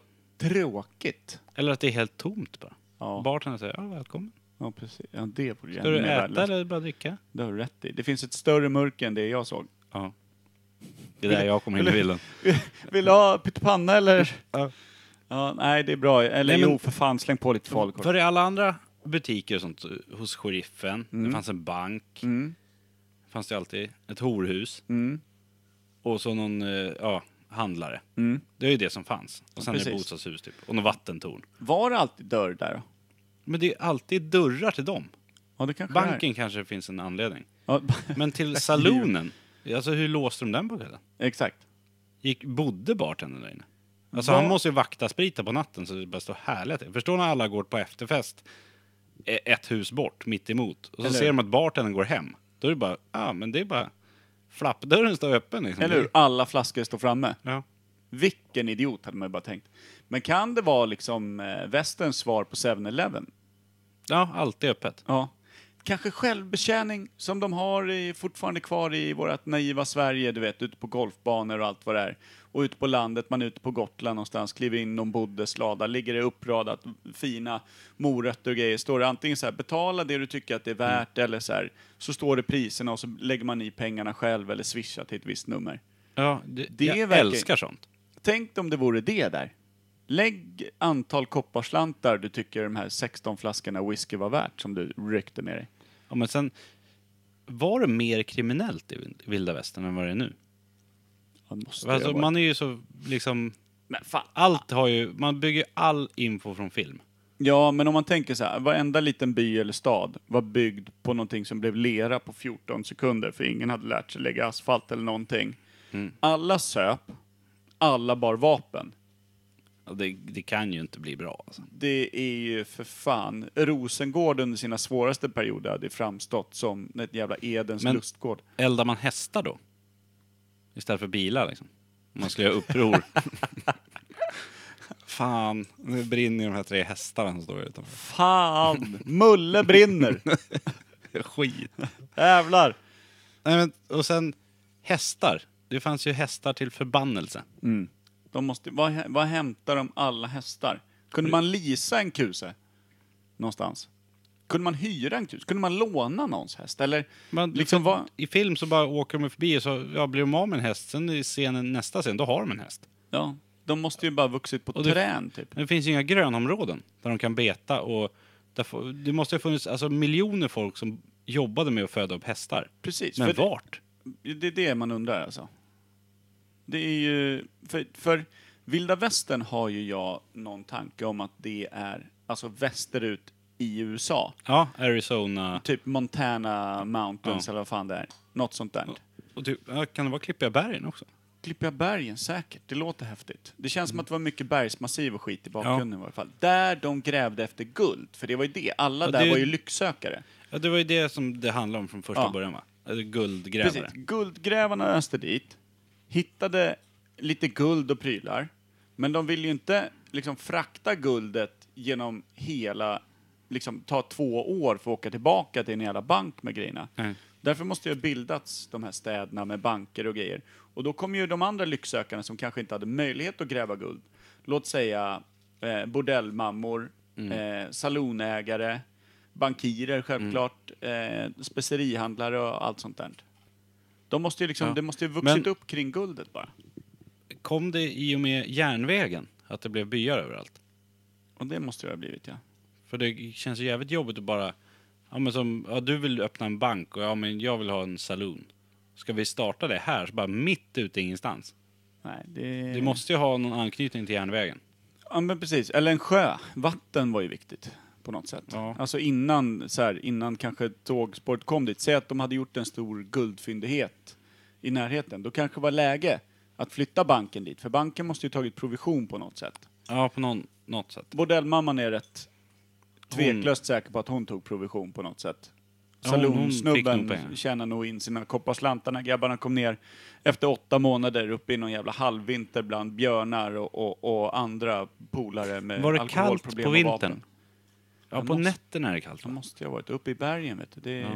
S1: tråkigt.
S2: Eller att det är helt tomt bara.
S1: Ja.
S2: Bartendern säger ja, välkommen.
S1: Ja, precis. Ja, det vore ju
S2: Ska
S1: ännu
S2: du
S1: mer
S2: äta
S1: värdelöst.
S2: eller bara dricka?
S1: Det har du rätt i. Det finns ett större mörker än det jag såg.
S2: Ja. Det är där jag kommer in i bilden.
S1: Vill du ha pyttipanna eller?
S2: Ja.
S1: Ja, nej, det är bra. Eller
S2: Nej, men-
S1: jo, för fan, släng på lite folk.
S2: För i alla andra butiker och sånt, hos sheriffen, det fanns en bank,
S1: Mm.
S2: fanns det alltid ett horhus
S1: Mm.
S2: och så någon eh, ja, handlare.
S1: Mm.
S2: Det är ju det som fanns. Och sen är det
S1: precis.
S2: bostadshus typ. Och något vattentorn.
S1: Var det alltid dörr där då?
S2: Men det är alltid dörrar till dem.
S1: Ja, det kanske det är.
S2: Banken kanske finns en anledning.
S1: Ja,
S2: Men till salonen, alltså hur låste de den på kvällen?
S1: exakt.
S2: Gick, bodde bartendern där inne? Alltså
S1: Va?
S2: han måste ju vakta spriten på natten så det bara står härliga till. Förstår när alla går på efterfest e- ett hus bort, mitt emot. Och så
S1: Eller
S2: ser
S1: hur?
S2: de att bartendern går hem. Då är det bara, ja ah, men det är bara, flappdörren står öppen liksom.
S1: Eller hur? Alla flaskor står framme.
S2: Ja.
S1: Vilken idiot, hade man ju bara tänkt. Men kan det vara liksom eh, västerns svar på 7-Eleven?
S2: ja, alltid öppet.
S1: Ja. Kanske självbetjäning som de har i, fortfarande kvar i vårt naiva Sverige, du vet, ute på golfbanor och allt vad det är. Och ute på landet, man är ute på Gotland någonstans, kliver in någon boddes lada, ligger det uppradat, fina morötter och grejer. Står det antingen så här, betala det du tycker att det är värt, eller så här, så står det priserna och så lägger man i pengarna själv eller swishar till ett visst nummer.
S2: Ja, det,
S1: Det
S2: jag
S1: är verkligen-
S2: älskar sånt.
S1: Tänk om det vore det där. Lägg antal kopparslantar du tycker de här 16 flaskorna whisky var värt som du ryckte med dig.
S2: Ja, men sen, var det mer kriminellt i vilda västern än vad det är nu?
S1: Ja, det måste
S2: Alltså,
S1: jag vara.
S2: man är ju så liksom,
S1: Men fan.
S2: allt har ju, man bygger all info från film.
S1: Ja, men om man tänker så här, varenda liten by eller stad var byggd på någonting som blev lera på 14 sekunder för ingen hade lärt sig lägga asfalt eller någonting.
S2: Mm.
S1: Alla söp, alla bar vapen.
S2: Ja, det, det kan ju inte bli bra alltså.
S1: Det är ju för fan, Rosengård under sina svåraste perioder hade framstått som ett jävla Edens
S2: Men-
S1: lustgård.
S2: Eldar man hästar då? Istället för bilar liksom? Om Man skulle göra uppror. Fan, nu brinner ju de här tre hästarna som står här utanför.
S1: Fan! Mulle brinner!
S2: Skit.
S1: Jävlar!
S2: Nej, men, och sen hästar. Det fanns ju hästar till förbannelse.
S1: De måste, vad, vad hämtar de alla hästar? Kunde man leasa en kuse någonstans? Kunde man hyra en kuse? Kunde man låna någons häst? Eller
S2: Man,
S1: liksom vad...
S2: I film så bara åker de förbi och så ja, blir de av med en häst. Sen i scenen, nästa scen, då har de en häst.
S1: Ja, de måste ju bara vuxit på
S2: Och det-
S1: trän typ.
S2: Men det finns ju inga grönområden där de kan beta och där, får- det måste ha funnits alltså, miljoner folk som jobbade med att föda upp hästar.
S1: Precis.
S2: Men
S1: för det-
S2: vart?
S1: Det är det man undrar alltså. Det är ju, för, för vilda västern har ju jag någon tanke om att det är alltså västerut i USA.
S2: Ja, Arizona.
S1: Typ Montana Mountains eller vad fan det är. Något sånt där.
S2: Och typ, ja, kan det vara Klippiga bergen också?
S1: Klippiga bergen, säkert. Det låter häftigt. Det känns som att det var mycket bergsmassiv och skit i bakgrunden i varje fall. Där de grävde efter guld, för det var ju det. Alla
S2: Ja,
S1: där
S2: det-
S1: var ju lycksökare.
S2: Ja, det var ju det som det handlade om från första
S1: Ja.
S2: början va? Eller Guldgrävare.
S1: Precis. Guldgrävarna öste dit, hittade lite guld och prylar. Men de ville ju inte liksom frakta guldet genom hela, liksom ta två år för att åka tillbaka till en jävla bank med grejerna.
S2: Nej.
S1: Därför måste ju ha bildats de här städerna med banker och grejer. Och då kommer ju de andra lycksökarna som kanske inte hade möjlighet att gräva guld. Låt säga eh, bordellmammor,
S2: Mm.
S1: eh, saloonägare, bankirer självklart,
S2: Mm.
S1: eh, specerihandlare och allt sånt där. De måste ju liksom,
S2: Ja.
S1: Det måste ju vuxit
S2: Men-
S1: upp kring guldet bara.
S2: Kom det i och med järnvägen? Att det blev byar överallt?
S1: Och det måste det ha blivit ja.
S2: För det känns ju jävligt jobbigt att bara... Ja, men som, ja, du vill öppna en bank och ja, men jag vill ha en saloon. Ska vi starta det här? Så bara mitt ute i ingenstans.
S1: Nej, det...
S2: Du måste ju ha någon anknytning till järnvägen.
S1: Ja men precis, eller en sjö. Vatten var ju viktigt på något sätt.
S2: Ja.
S1: Alltså innan, så här, innan kanske tågspåret kom dit. Säg att de hade gjort en stor guldfyndighet i närheten. Då kanske var läge att flytta banken dit. För banken måste ju tagit provision på något sätt.
S2: Ja, på någon, något sätt.
S1: Bordellmamman är rätt
S2: Hon-
S1: tveklöst säker på att hon tog provision på något sätt.
S2: Ja, hon- hon fick nog
S1: Salonsnubben
S2: pengar.
S1: tjänade nog in sina kopparslantar när grabbarna kom ner efter åtta månader uppe i någon jävla halvvinter bland björnar och, och, och andra polare med
S2: Var det kallt
S1: alkoholproblem
S2: på
S1: och vapen.
S2: vintern? Ja,
S1: Jag
S2: på
S1: måste-
S2: nätterna är det kallt.
S1: Då
S2: va?
S1: måste jag ha varit uppe i bergen vet du. Det är,
S2: Ja.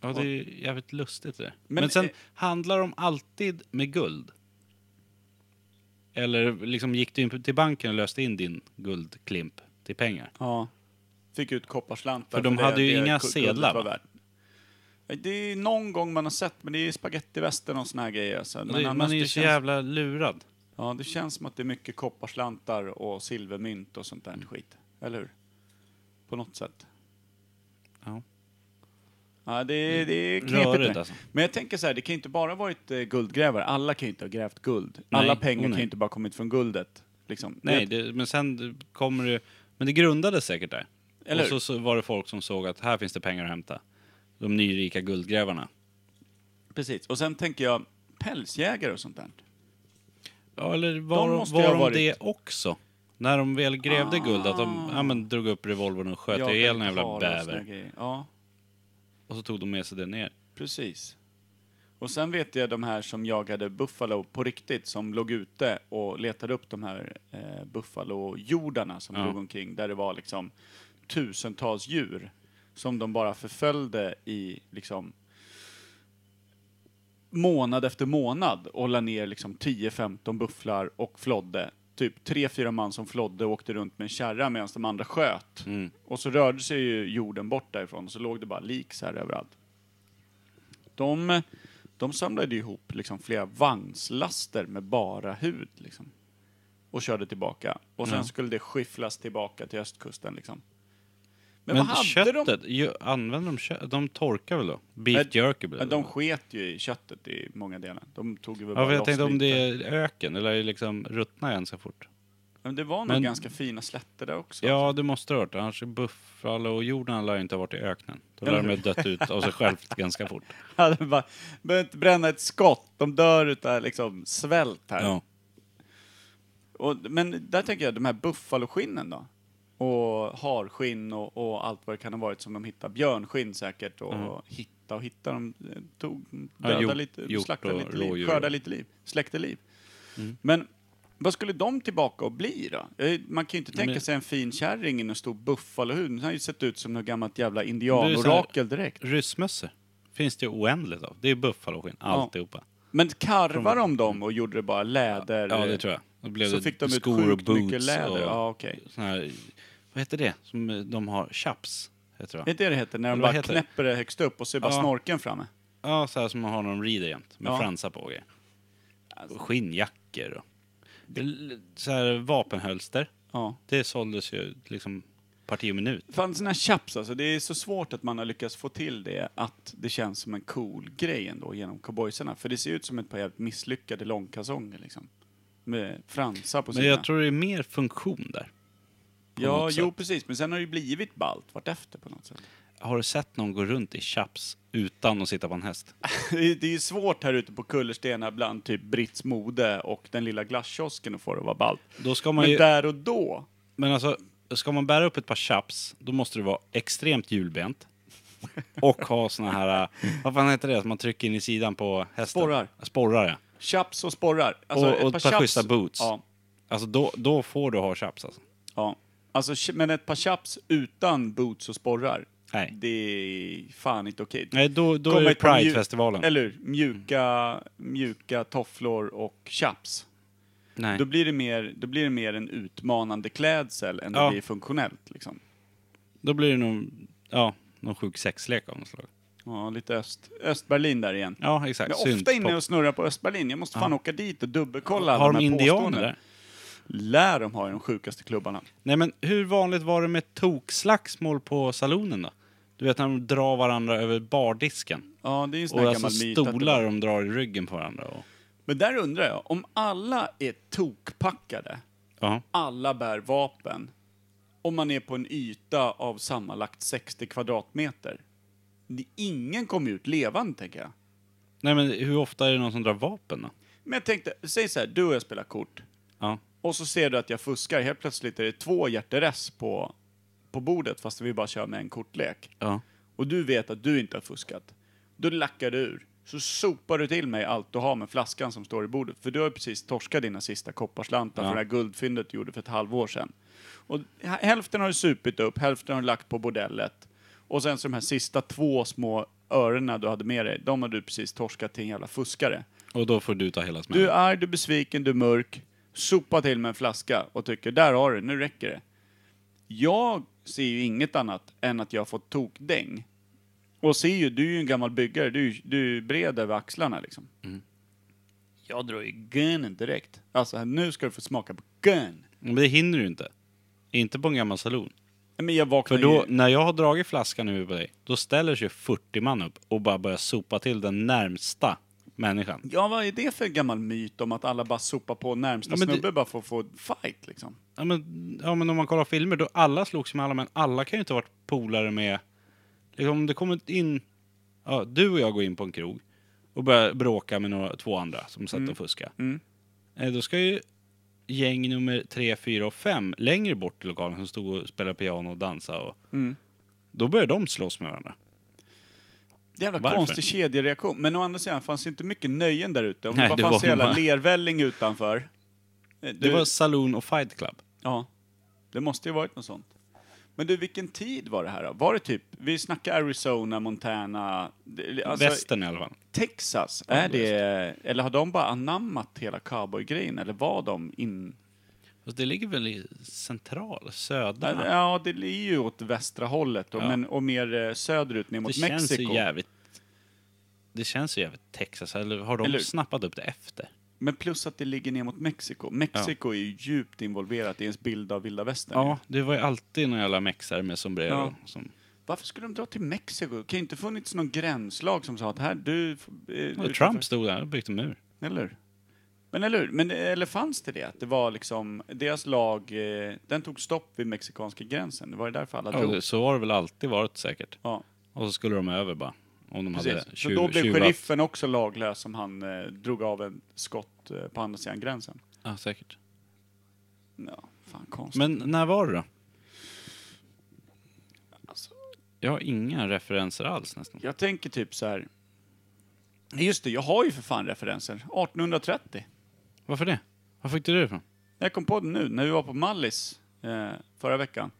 S2: Ja, det är jävligt lustigt det där.
S1: Men-
S2: Men, sen,
S1: eh,
S2: handlar de alltid med guld? Eller liksom gick du in till banken och löste in din guldklimp till pengar?
S1: ja. Fick ut kopparslantar.
S2: För de hade ju inga
S1: guldet
S2: sedlar,
S1: var
S2: va?
S1: värt. Nej, Det är någon gång man har sett, men det är spagettivästen och såna här grejer. Alltså. Men
S2: Det-
S1: annars
S2: man är ju
S1: det
S2: så
S1: känns-
S2: jävla lurad.
S1: Ja, det känns som att det är mycket kopparslantar och silvermynt och sånt där
S2: Mm.
S1: skit. Eller hur? På något sätt.
S2: Ja. Mm.
S1: Ja, det, är- det är knepigt.
S2: Rörigt,
S1: det.
S2: alltså.
S1: Men jag tänker så här, det kan ju inte bara varit eh, guldgrävare. Alla kan ju inte ha grävt guld.
S2: Nej,
S1: Alla
S2: oh,
S1: pengar kan
S2: nej.
S1: ju inte bara kommit från guldet. Liksom.
S2: Nej,
S1: Det-
S2: det, men sen kommer det... Men det grundades säkert där.
S1: Eller
S2: och
S1: hur?
S2: så, så var det folk som såg att här finns det pengar att hämta. De nyrika guldgrävarna.
S1: precis. Och sen tänker jag pälsjägare och sånt där.
S2: Ja, eller var
S1: De
S2: de,
S1: måste ju
S2: var
S1: ha
S2: de
S1: varit-
S2: det också? När de väl grävde guld, att de
S1: Ah.
S2: ja, men, drog upp revolvern och sköt
S1: Jagar
S2: ihjäl en jävla
S1: karlar och såna
S2: bäver.
S1: grejer. Ja,
S2: Och så tog de med sig det ner.
S1: precis. Och sen vet jag de här som jagade buffalo på riktigt, som låg ute och letade upp de här eh, buffalojordarna som
S2: Ja.
S1: låg omkring, där det var liksom tusentals djur som de bara förföljde i liksom månad efter månad och la ner liksom 10-15 bufflar och flodde. Typ tre fyra man som flodde och åkte runt med en kärra medan de andra sköt.
S2: Mm.
S1: Och så rörde sig ju jorden bort därifrån och så låg det bara lik så här överallt. De, de samlade ju ihop liksom flera vagnslaster med bara hud liksom. Och körde tillbaka. Och sen
S2: Ja.
S1: skulle det skyfflas tillbaka till östkusten liksom. Men,
S2: Men,
S1: vad hade de?
S2: köttet, ju, använder de kött? De torkar väl då? Beef
S1: Nej,
S2: jerky blir
S1: Men
S2: det
S1: de
S2: då.
S1: sket ju i köttet i många delar. De tog ju väl
S2: Ja,
S1: bara
S2: för jag
S1: loss
S2: tänkte om
S1: lite.
S2: det är öken, eller är det liksom ruttna än så fort?
S1: Men det var nog
S2: Men-
S1: ganska fina slätter där också.
S2: Ja, det måste ha varit. Annars Buffalo och jorden lär ju inte ha varit i öknen. Då lär
S1: Eller
S2: de ju ha dött ut av sig självt ganska fort.
S1: Hade bara, behöver inte bränna ett skott, de dör utav liksom svält här.
S2: Ja.
S1: Och, men där tänker jag, de här buffaloskinnen då? Och harskinn och, och allt vad det kan ha varit som de hittade. Björnskinn säkert och hitta och hitta. De eh, tog,
S2: Mm. Ja,
S1: dödade
S2: hjort-
S1: lite,
S2: hjort
S1: slaktade
S2: och
S1: lite liv,
S2: rådjur. Mm.
S1: skördade lite liv, släckte liv. Men vad skulle de tillbaka och bli då? Eh, Man kan ju inte tänka
S2: Men-
S1: sig en fin kärring i en stor buffalohud. Den har ju sett ut som något gammalt jävla
S2: här-
S1: indianorakel direkt.
S2: Ryssmössor finns det ju oändligt av. Det är buffaloskinn, alltihopa.
S1: Men karvar de dem och gjorde det bara läder?
S2: Ja, det tror jag. Då blev
S1: Så
S2: det
S1: fick de ut
S2: skor och
S1: sjukt mycket
S2: boots
S1: läder.
S2: och
S1: Ja, okej.
S2: sån här, vad heter det som eh, de har? Chaps, heter
S1: Det
S2: det
S1: är det det heter, när de
S2: Eller
S1: bara
S2: vad heter det?
S1: knäpper det högst upp och ser bara
S2: Ja.
S1: snorken framme.
S2: Ja, så här som man har när de rider jämt. Med
S1: Ja. Alltså.
S2: fransar på och grejer. Och skinnjackor och... L- Så här vapenhölster.
S1: Ja.
S2: Det såldes ju liksom parti och minut.
S1: Fan, såna här chaps alltså, det är så svårt att man har lyckats få till det att det känns som en cool grej ändå genom cowboysarna. För det ser ut som ett par jävligt misslyckade långkalsonger liksom. Med fransar på
S2: Men
S1: sidorna.
S2: jag tror det är mer funktion där.
S1: ja,
S2: något
S1: jo
S2: sätt.
S1: precis. Men sen har det ju blivit ballt vartefter på något sätt.
S2: Har du sett någon gå runt i chaps utan att sitta på en häst?
S1: Det är- det är ju svårt här ute på kullerstenar bland typ Britts mode och den lilla glasskiosken att få det att vara ballt.
S2: Då ska man
S1: Men
S2: ju...
S1: där och då,
S2: Men alltså, ska man bära upp ett par chaps, då måste du vara extremt hjulbent. Och ha såna här... eh, Vad fan heter det som man trycker in i sidan på hästen?
S1: Sporrar.
S2: Sporrar, ja.
S1: chaps och sporrar. Alltså,
S2: Och- och ett par
S1: chaps-
S2: schyssta boots.
S1: Ja,
S2: Alltså då, då får du ha chaps alltså.
S1: ja. Alltså, ch- men ett par chaps utan boots och sporrar,
S2: Nej.
S1: det är fan inte okej.
S2: Nej, då, då
S1: Kommer
S2: är det
S1: ett par mjuk-
S2: Pride-festivalen.
S1: Eller hur? mjuka, mjuka tofflor och chaps.
S2: Nej.
S1: Då blir, det mer, då blir det mer en utmanande klädsel än det
S2: Ja.
S1: blir funktionellt. Liksom.
S2: Då blir det nog, ja, någon sjuk sexlek av något slag.
S1: Ja, lite öst, Östberlin där igen.
S2: Ja, exakt.
S1: Jag är ofta
S2: Syntpop.
S1: inne och snurrar på Östberlin. Jag måste fan åka dit och dubbelkolla
S2: Har
S1: alla
S2: de
S1: här
S2: indianer
S1: påståendena.
S2: där?
S1: Lär de ha i de sjukaste klubbarna.
S2: Nej, men hur vanligt var det med tokslagsmål på salonen då? Du vet när de drar varandra över bardisken.
S1: Ja, det är ju en sån
S2: Och
S1: här
S2: alltså
S1: gammal myt att det
S2: stolar de drar i ryggen på varandra. Och,
S1: Men där undrar jag, om alla är tokpackade,
S2: ja.
S1: alla bär vapen, om man är på en yta av sammanlagt 60 kvadratmeter. det- Ingen kommer ut levande, tänker jag.
S2: Nej, men hur ofta är det någon som drar vapen då?
S1: Men jag tänkte, säg så här, du och jag spelar kort.
S2: Ja.
S1: Och så ser du att jag fuskar, helt plötsligt är det två hjärteress på, på bordet fast vi bara kör med en kortlek.
S2: ja.
S1: och du vet att du inte har fuskat, då lackar du ur. Så sopar du till mig allt du har med flaskan som står i bordet, för du har precis torskat dina sista kopparslantar
S2: Ja.
S1: för det här guldfyndet du gjorde för ett halvår sedan. Och h- hälften har du supit upp, hälften har du lagt på bordellet. Och sen så de här sista två små örena du hade med dig, de har du precis torskat till en jävla fuskare.
S2: Och då får du ta hela smällen.
S1: Du är arg, du är besviken, du är mörk. Sopa till med en flaska och tycker där har du, nu räcker det. Jag ser ju inget annat än att jag har fått tokdäng. Och ser ju, du är ju en gammal byggare, du, är ju- du är ju bred över axlarna liksom.
S2: Mm.
S1: Jag drar ju gunnen direkt. Alltså nu ska du få smaka på gun.
S2: Men det hinner du inte. Inte på en gammal salon.
S1: Men jag
S2: För
S1: vaknar
S2: då,
S1: ju...
S2: när jag har dragit flaskan nu på dig, då ställer sig 40 man upp och bara börjar sopa till den närmsta människan.
S1: Ja, vad är det för gammal myt om att alla bara sopar på närmsta
S2: Ja, men det-
S1: snubbe bara för att få en fight liksom?
S2: Ja men, ja men om man kollar filmer, då alla slogs med alla, men alla kan ju inte ha varit polare med... Liksom om det kommer in... Ja, du och jag går in på en krog och börjar bråka med några, två andra som satt och fuskade.
S1: Mm.
S2: Eh, Då ska ju gäng nummer tre, fyra och fem längre bort i lokalen som stod och spelade piano och dansade och...
S1: Mm.
S2: Då börjar de slåss med varandra.
S1: Jävla
S2: Varför?
S1: konstig kedjereaktion. Men å andra sidan fanns det inte mycket nöjen där ute. Om
S2: Nej,
S1: det bara
S2: det
S1: fanns
S2: var
S1: hela
S2: bara-
S1: lervälling utanför. Eh,
S2: Det
S1: du-
S2: var Saloon och Fight Club.
S1: Ja, det måste ju varit något sånt. Men du, vilken tid var det här då? Var det typ, vi snackar Arizona, Montana, det- alltså,
S2: Västern i alla fall.
S1: Texas, är det, eller har de bara anammat hela cowboygrejen? Eller var de in...
S2: Fast det ligger väl i central, södra?
S1: Ja, ja det är ju åt västra hållet då,
S2: Ja.
S1: men, och mer eh, söderut ner
S2: det
S1: mot
S2: känns
S1: Mexiko.
S2: ju jävligt... Det känns ju jävligt Texas, eller har de
S1: Eller-
S2: snappat upp det efter?
S1: Men plus att det ligger ner mot Mexiko. Mexiko är ju djupt involverat i ens bild av vilda västern.
S2: Ja, det var ju alltid några jävla mexare med sombrero.
S1: Ja.
S2: Som,
S1: Varför skulle de dra till Mexiko? Det kan ju inte funnits någon gränslag som sa att här, du... eh,
S2: och
S1: utanför-
S2: Trump stod där och byggde en mur.
S1: Eller hur? Men eller hur? Men, eh, eller fanns det det? Att det var liksom, deras lag, eh, den tog stopp vid mexikanska gränsen. Det var det därför alla
S2: Ja,
S1: drog.
S2: det- så har det väl alltid varit säkert.
S1: Ja,
S2: Och så skulle de över bara. Om de
S1: precis.
S2: hade
S1: Så
S2: tjuv,
S1: då blev
S2: tjuvat.
S1: sheriffen också laglös som han eh, drog av en skott eh, på andra sidan gränsen.
S2: Ja, säkert.
S1: Ja, fan konstigt.
S2: Men när var det då?
S1: Alltså.
S2: Jag har inga referenser alls nästan.
S1: Jag tänker typ så här. Nej, Just det, jag har ju för fan referenser. 1830.
S2: Varför det? Var fick du det ifrån?
S1: Jag kom på det nu, när vi var på Mallis eh, förra veckan.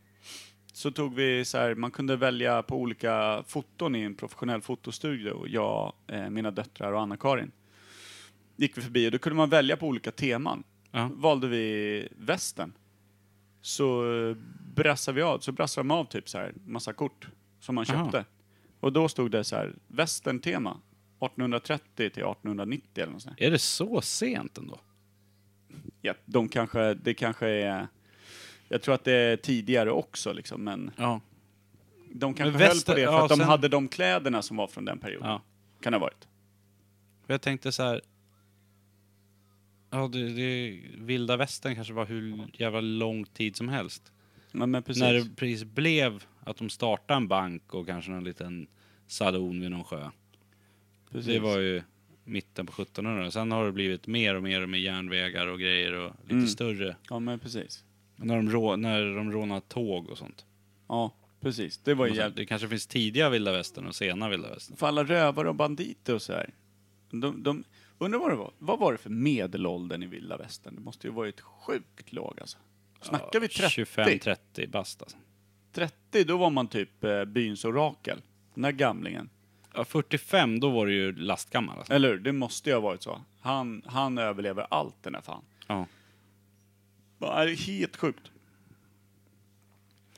S1: Så tog vi så här, man kunde välja på olika foton i en professionell fotostudio. Jag, eh, mina döttrar och Anna-Karin. Gick vi förbi och då kunde man välja på olika teman.
S2: Ja.
S1: valde vi västen. Så eh, brassade vi av, så brassade de av typ så här massa kort som man
S2: Aha.
S1: köpte. Och då stod det så här, västern-tema. 1830 till 1890 eller något sånt. där.
S2: Är det så sent ändå?
S1: Ja, de kanske, det kanske är... Jag tror att det är tidigare också liksom, men
S2: Ja.
S1: de kanske
S2: Men
S1: höll
S2: väster-
S1: på det för
S2: ja,
S1: att de
S2: sen-
S1: hade de kläderna som var från den perioden.
S2: ja.
S1: Kan det ha varit.
S2: För Jag tänkte så här... Ja, det, det, vilda västern kanske var hur jävla lång tid som helst.
S1: Men, men precis.
S2: När det precis blev att de startade en bank och kanske någon liten saloon vid någon sjö.
S1: precis.
S2: Det var ju mitten på 1700-talet. Sen har det blivit mer och mer med järnvägar och grejer och lite
S1: Mm.
S2: större.
S1: Ja, men precis.
S2: När de, rå, när de rånar tåg och sånt.
S1: Ja, precis. Det var ju jävligt...
S2: Det kanske finns tidiga vilda västern och sena vilda västern.
S1: För alla rövare och banditer och så här. De, de, undrar vad det var. Vad var det för medelåldern i vilda västern? Det måste ju varit sjukt låg alltså. Snackar vi 30?
S2: 25-30 bast alltså.
S1: 30, då var man typ eh, byns orakel. Den där gamlingen.
S2: Ja, 45 då var det ju lastgammal alltså.
S1: Eller hur? Det måste ju ha varit så. Han, han överlever allt den här fan.
S2: Ja.
S1: Ja, det är Helt sjukt.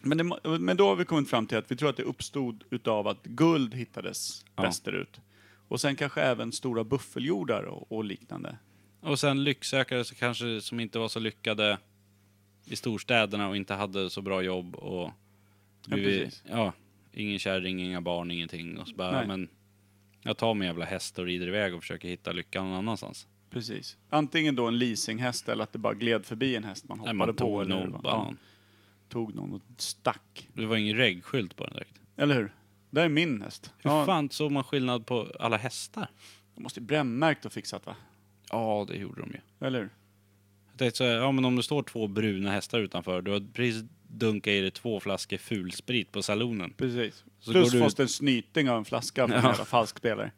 S1: Men, det, må- men då har vi kommit fram till att vi tror att det uppstod utav att guld hittades
S2: Ja.
S1: västerut. Och sen kanske även stora buffeljordar och, och liknande.
S2: Och sen lycksökare så kanske som inte var så lyckade i storstäderna och inte hade så bra jobb och...
S1: precis.
S2: ja, ingen kärring, inga barn, ingenting. Och så bara,
S1: Nej.
S2: ja, men jag tar min jävla häst och rider iväg och försöker hitta lyckan någon annanstans.
S1: Precis. Antingen då en leasinghäst eller att det bara gled förbi en häst man
S2: Nej,
S1: hoppade
S2: man
S1: på.
S2: tog
S1: eller hur
S2: nog
S1: det var.
S2: bara
S1: Ja,
S2: någon.
S1: tog någon och stack.
S2: Det var ingen reggskylt på den direkt.
S1: Eller hur? Det är min häst.
S2: Hur
S1: Ja,
S2: fan såg man skillnad på alla hästar?
S1: De måste ju brännmärkt och fixat va?
S2: Ja, det gjorde de ju.
S1: Eller hur?
S2: Jag tänkte så här, ja men om det står två bruna hästar utanför, du har precis dunkat i dig två flaskor fulsprit på salonen.
S1: Precis.
S2: Så
S1: Plus
S2: går du-
S1: fått en snyting av en flaska från en
S2: Ja.
S1: jävla falskspelare.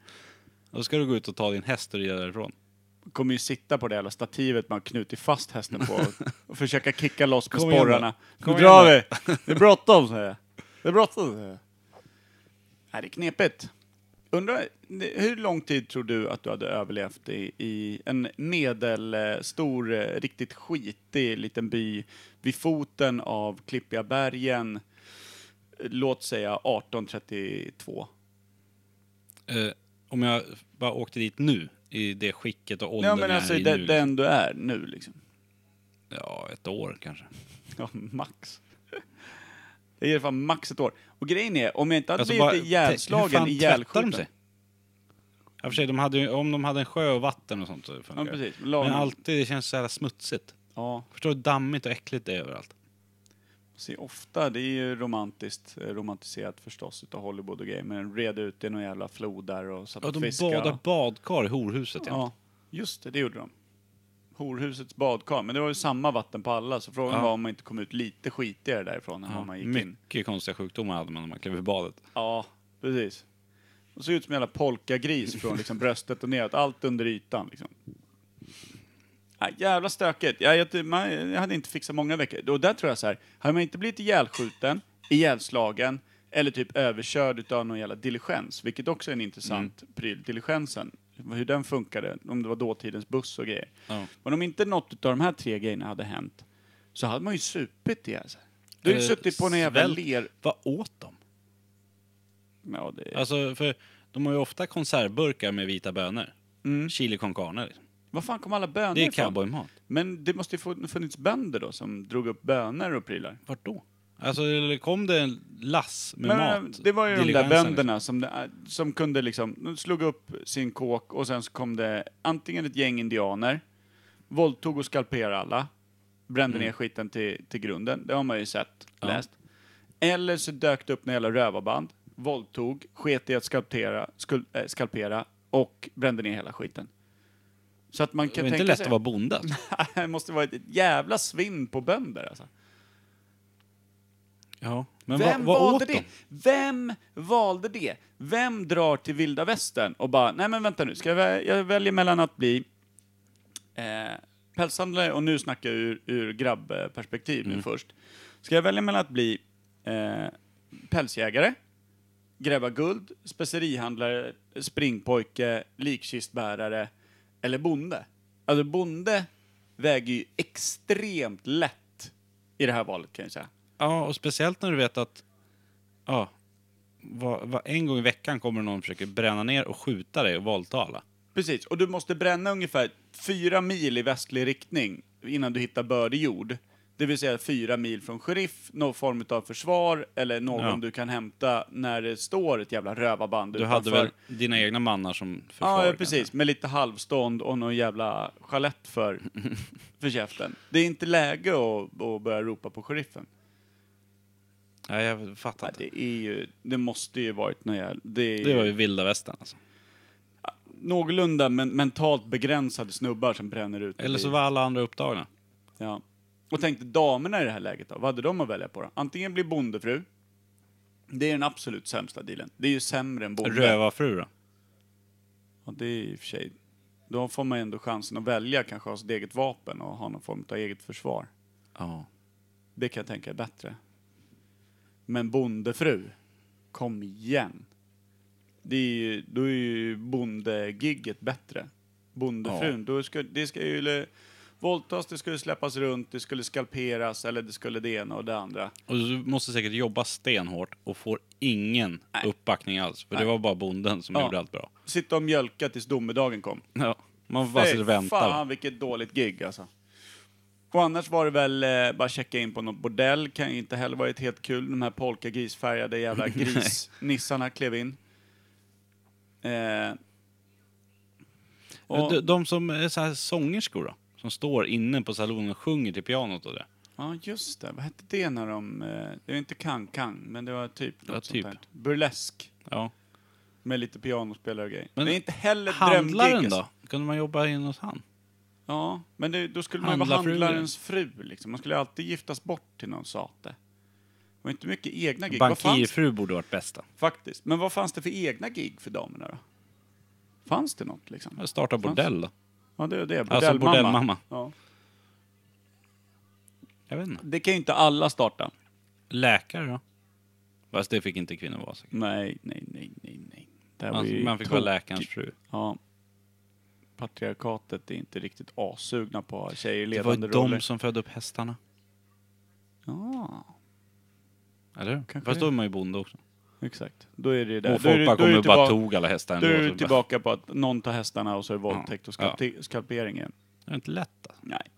S2: Då ska du gå ut och ta din häst och rida därifrån.
S1: kommer ju sitta på det jävla stativet man har knutit fast hästen på och- och försöka kicka loss med
S2: Kom igen då.
S1: sporrarna.
S2: Kom
S1: Nu
S2: igen
S1: drar
S2: då.
S1: vi! Det är bråttom säger jag. Det är bråttom säger jag. Nej, det är knepigt. Undrar, hur lång tid tror du att du hade överlevt i, i en medelstor, eh, riktigt skitig liten by vid foten av Klippiga bergen, eh, låt säga 1832?
S2: Eh, om jag bara åkte dit nu, i det skicket och åldern
S1: Ja, men alltså
S2: jag
S1: i
S2: är
S1: den,
S2: i nu.
S1: den du är nu liksom.
S2: Ja, ett år kanske.
S1: Ja, max. Det är i alla fall max ett år. Och grejen är, om jag inte hade
S2: Alltså, bara-
S1: blivit ihjälslagen,
S2: tänk, hur fan tvättar
S1: ihjälskjuten.
S2: de sig? Ja, för sig, de hade, ju- om de hade en sjö och vatten och sånt så funkar
S1: Ja,
S2: det.
S1: precis.
S2: Men
S1: Lagom.
S2: alltid, det känns så jävla smutsigt.
S1: Ja,
S2: Förstår du hur dammigt och äckligt det är överallt?
S1: se ofta, det är ju romantiskt, eh, romantiserat förstås utav Hollywood och grejer, men de red ut i några jävla flod där och satt
S2: Ja,
S1: och
S2: de
S1: fiskade.
S2: badar badkar i horhuset. Ja.
S1: Ja, just det, det gjorde de. Horhusets badkar, men det var ju samma vatten på alla, så frågan
S2: Ja.
S1: var om man inte kom ut lite skitigare därifrån än vad man gick in.
S2: Mycket konstiga sjukdomar hade man när man klev ur badet.
S1: Ja, precis. De såg ut som en jävla polkagris från liksom bröstet och neråt, allt under ytan. Liksom. Ja, jävla stökigt. Ja, jag, ty- man, jag hade inte fixat många veckor. Och där tror jag så här, hade man inte blivit ihjälskjuten, ihjälslagen eller typ överkörd utav någon jävla diligens, vilket också är en intressant
S2: Mm.
S1: pryl, diligensen, hur den funkade, om det var dåtidens buss och grejer.
S2: Ja.
S1: Men om inte något utav de här tre grejerna hade hänt, så hade man ju supit ihjäl sig. Du har ju
S2: Eh,
S1: suttit på en jävla
S2: svält.
S1: ler...
S2: Vad åt de?
S1: Ja, det...
S2: Alltså, för de har ju ofta konservburkar med vita bönor.
S1: Mm.
S2: Chili con carne. Liksom.
S1: Var fan kom alla bönor
S2: Det är
S1: ifrån?
S2: cowboymat.
S1: Men det måste ju få- funnits bönder då som drog upp bönor och prylar.
S2: Vart då? Alltså, eller kom det en lass med
S1: Men, eh,
S2: mat?
S1: det var ju de där
S2: Diligensen, liksom.
S1: bönderna som, det- som kunde liksom, de slog upp sin kåk och sen så kom det antingen ett gäng indianer, våldtog och skalperade alla, brände ner skiten till, till grunden, det har man ju sett,
S2: Mm. Ja.
S1: läst. Eller så dök det upp när jävla rövarband, våldtog, sket i att skalpera, skul, eh, skalpera och brände ner hela skiten. Så att man
S2: Det
S1: kan
S2: var
S1: tänka
S2: inte lätt
S1: sig...
S2: att vara bonde. alltså.
S1: det måste vara ett jävla svinn på bönder alltså.
S2: Ja. Men
S1: Vem
S2: vad, vad
S1: valde
S2: åt
S1: det?
S2: de?
S1: Vem valde det? Vem drar till vilda västern och bara, nej men vänta nu, ska jag, vä- jag väljer mellan att bli eh, pälshandlare och nu snackar jag ur, ur grabbperspektiv
S2: Mm.
S1: nu först. Ska jag välja mellan att bli eh, pälsjägare, gräva guld, specerihandlare, springpojke, likkistbärare eller bonde? Alltså bonde väger ju extremt lätt i det här valet kan jag säga.
S2: Ja, och speciellt när du vet att ja, va, va, en gång i veckan kommer någon och försöker bränna ner och skjuta dig och våldtala.
S1: Precis, och du måste bränna ungefär fyra mil i västlig riktning innan du hittar bördig jord. Det vill säga fyra mil från sheriff, någon form av försvar eller någon
S2: Ja.
S1: du kan hämta när det står ett jävla rövarband
S2: Du hade väl dina egna mannar som försvar?
S1: Ja, ja,
S2: kanske?
S1: precis. Med lite halvstånd och någon jävla sjalett för, för käften. Det är inte läge att, att börja ropa på sheriffen.
S2: Nej, jag fattar
S1: Nej,
S2: inte.
S1: det, är ju, det måste ju varit något jävla... Det är
S2: Det var ju
S1: ju
S2: vilda västern alltså.
S1: någorlunda men, mentalt begränsade snubbar som bränner ut.
S2: Eller så
S1: i-
S2: var alla andra upptagna.
S1: Ja. Och tänkte damerna i det här läget då, vad hade de att välja på då? Antingen bli bondefru. Det är den absolut sämsta dealen. Det är ju sämre än bonde.
S2: Rövarfru då?
S1: Ja, det är i och för sig... Då får man ju ändå chansen att välja kanske ha sitt eget vapen och ha någon form av eget försvar.
S2: Ja.
S1: Det kan jag tänka är bättre. Men bondefru, kom igen. Det är ju, då är ju bondegigget bättre. Bondefrun, då ska, det ska ju le- våldtas, det skulle släppas runt, det skulle skalperas eller det skulle det ena och det andra.
S2: Och du måste säkert jobba stenhårt och får ingen uppbackning alls. För det var bara bonden som
S1: Ja.
S2: gjorde allt bra.
S1: Sitta och mjölka tills domedagen kom.
S2: Ja. Man får bara sitta och
S1: Fy
S2: vänta.
S1: Fan vilket dåligt gig alltså. Och annars var det väl eh, bara checka in på något bordell, kan ju inte heller varit helt kul. De här polkagrisfärgade jävla grisnissarna klev in. Eh, och,
S2: De, de som är så här sångerskor då? Som står inne på salonen och sjunger till pianot och det.
S1: ja just det, vad hette det när de... Eh, det var inte kang-kang, men det var typ något
S2: Ja,
S1: sånt
S2: typ.
S1: där. Burlesk.
S2: Ja.
S1: Med lite pianospelare och grejer.
S2: Men
S1: Men det är inte heller ett drömgig,
S2: Handlaren
S1: alltså.
S2: då? Kunde man jobba in hos han?
S1: Ja, men det, då skulle man ju vara
S2: Handlarfru.
S1: handlarens fru liksom. Man skulle ju alltid giftas bort till någon sate. Det var inte mycket egna gig. Vad fanns,
S2: Bankirfru borde varit bästa.
S1: faktiskt. Men vad fanns det för egna gig för damerna då? Fanns det något liksom?
S2: Starta bordell då.
S1: Ja, det är det.
S2: Alltså,
S1: Bordellmamma.
S2: bordellmamma.
S1: Ja.
S2: Jag vet inte.
S1: Det kan ju inte alla starta.
S2: Läkare då? Fast det fick inte kvinnor vara säkert.
S1: Nej, nej, nej, nej, nej. Det här var
S2: Man,
S1: ju
S2: Alltså, man fick vara
S1: tokigt.
S2: läkarens fru.
S1: Ja. Patriarkatet är inte riktigt assugna på tjejer i
S2: Det var ju
S1: ledande roller.
S2: de som födde upp hästarna.
S1: Ja,
S2: Eller hur?
S1: Kanske
S2: Fast
S1: det.
S2: då är man ju bonde också.
S1: exakt. Då är det ju det.
S2: Och
S1: Då är
S2: folk
S1: det-
S2: bara
S1: då är
S2: kom
S1: det
S2: och bara
S1: tillbaka-
S2: tog alla hästar ändå.
S1: Då
S2: så
S1: är du
S2: bara-
S1: tillbaka på att någon tar hästarna och så är det våldtäkt och
S2: Ja.
S1: skalpe- skalpering igen.
S2: Det är inte lätt alltså.
S1: Nej.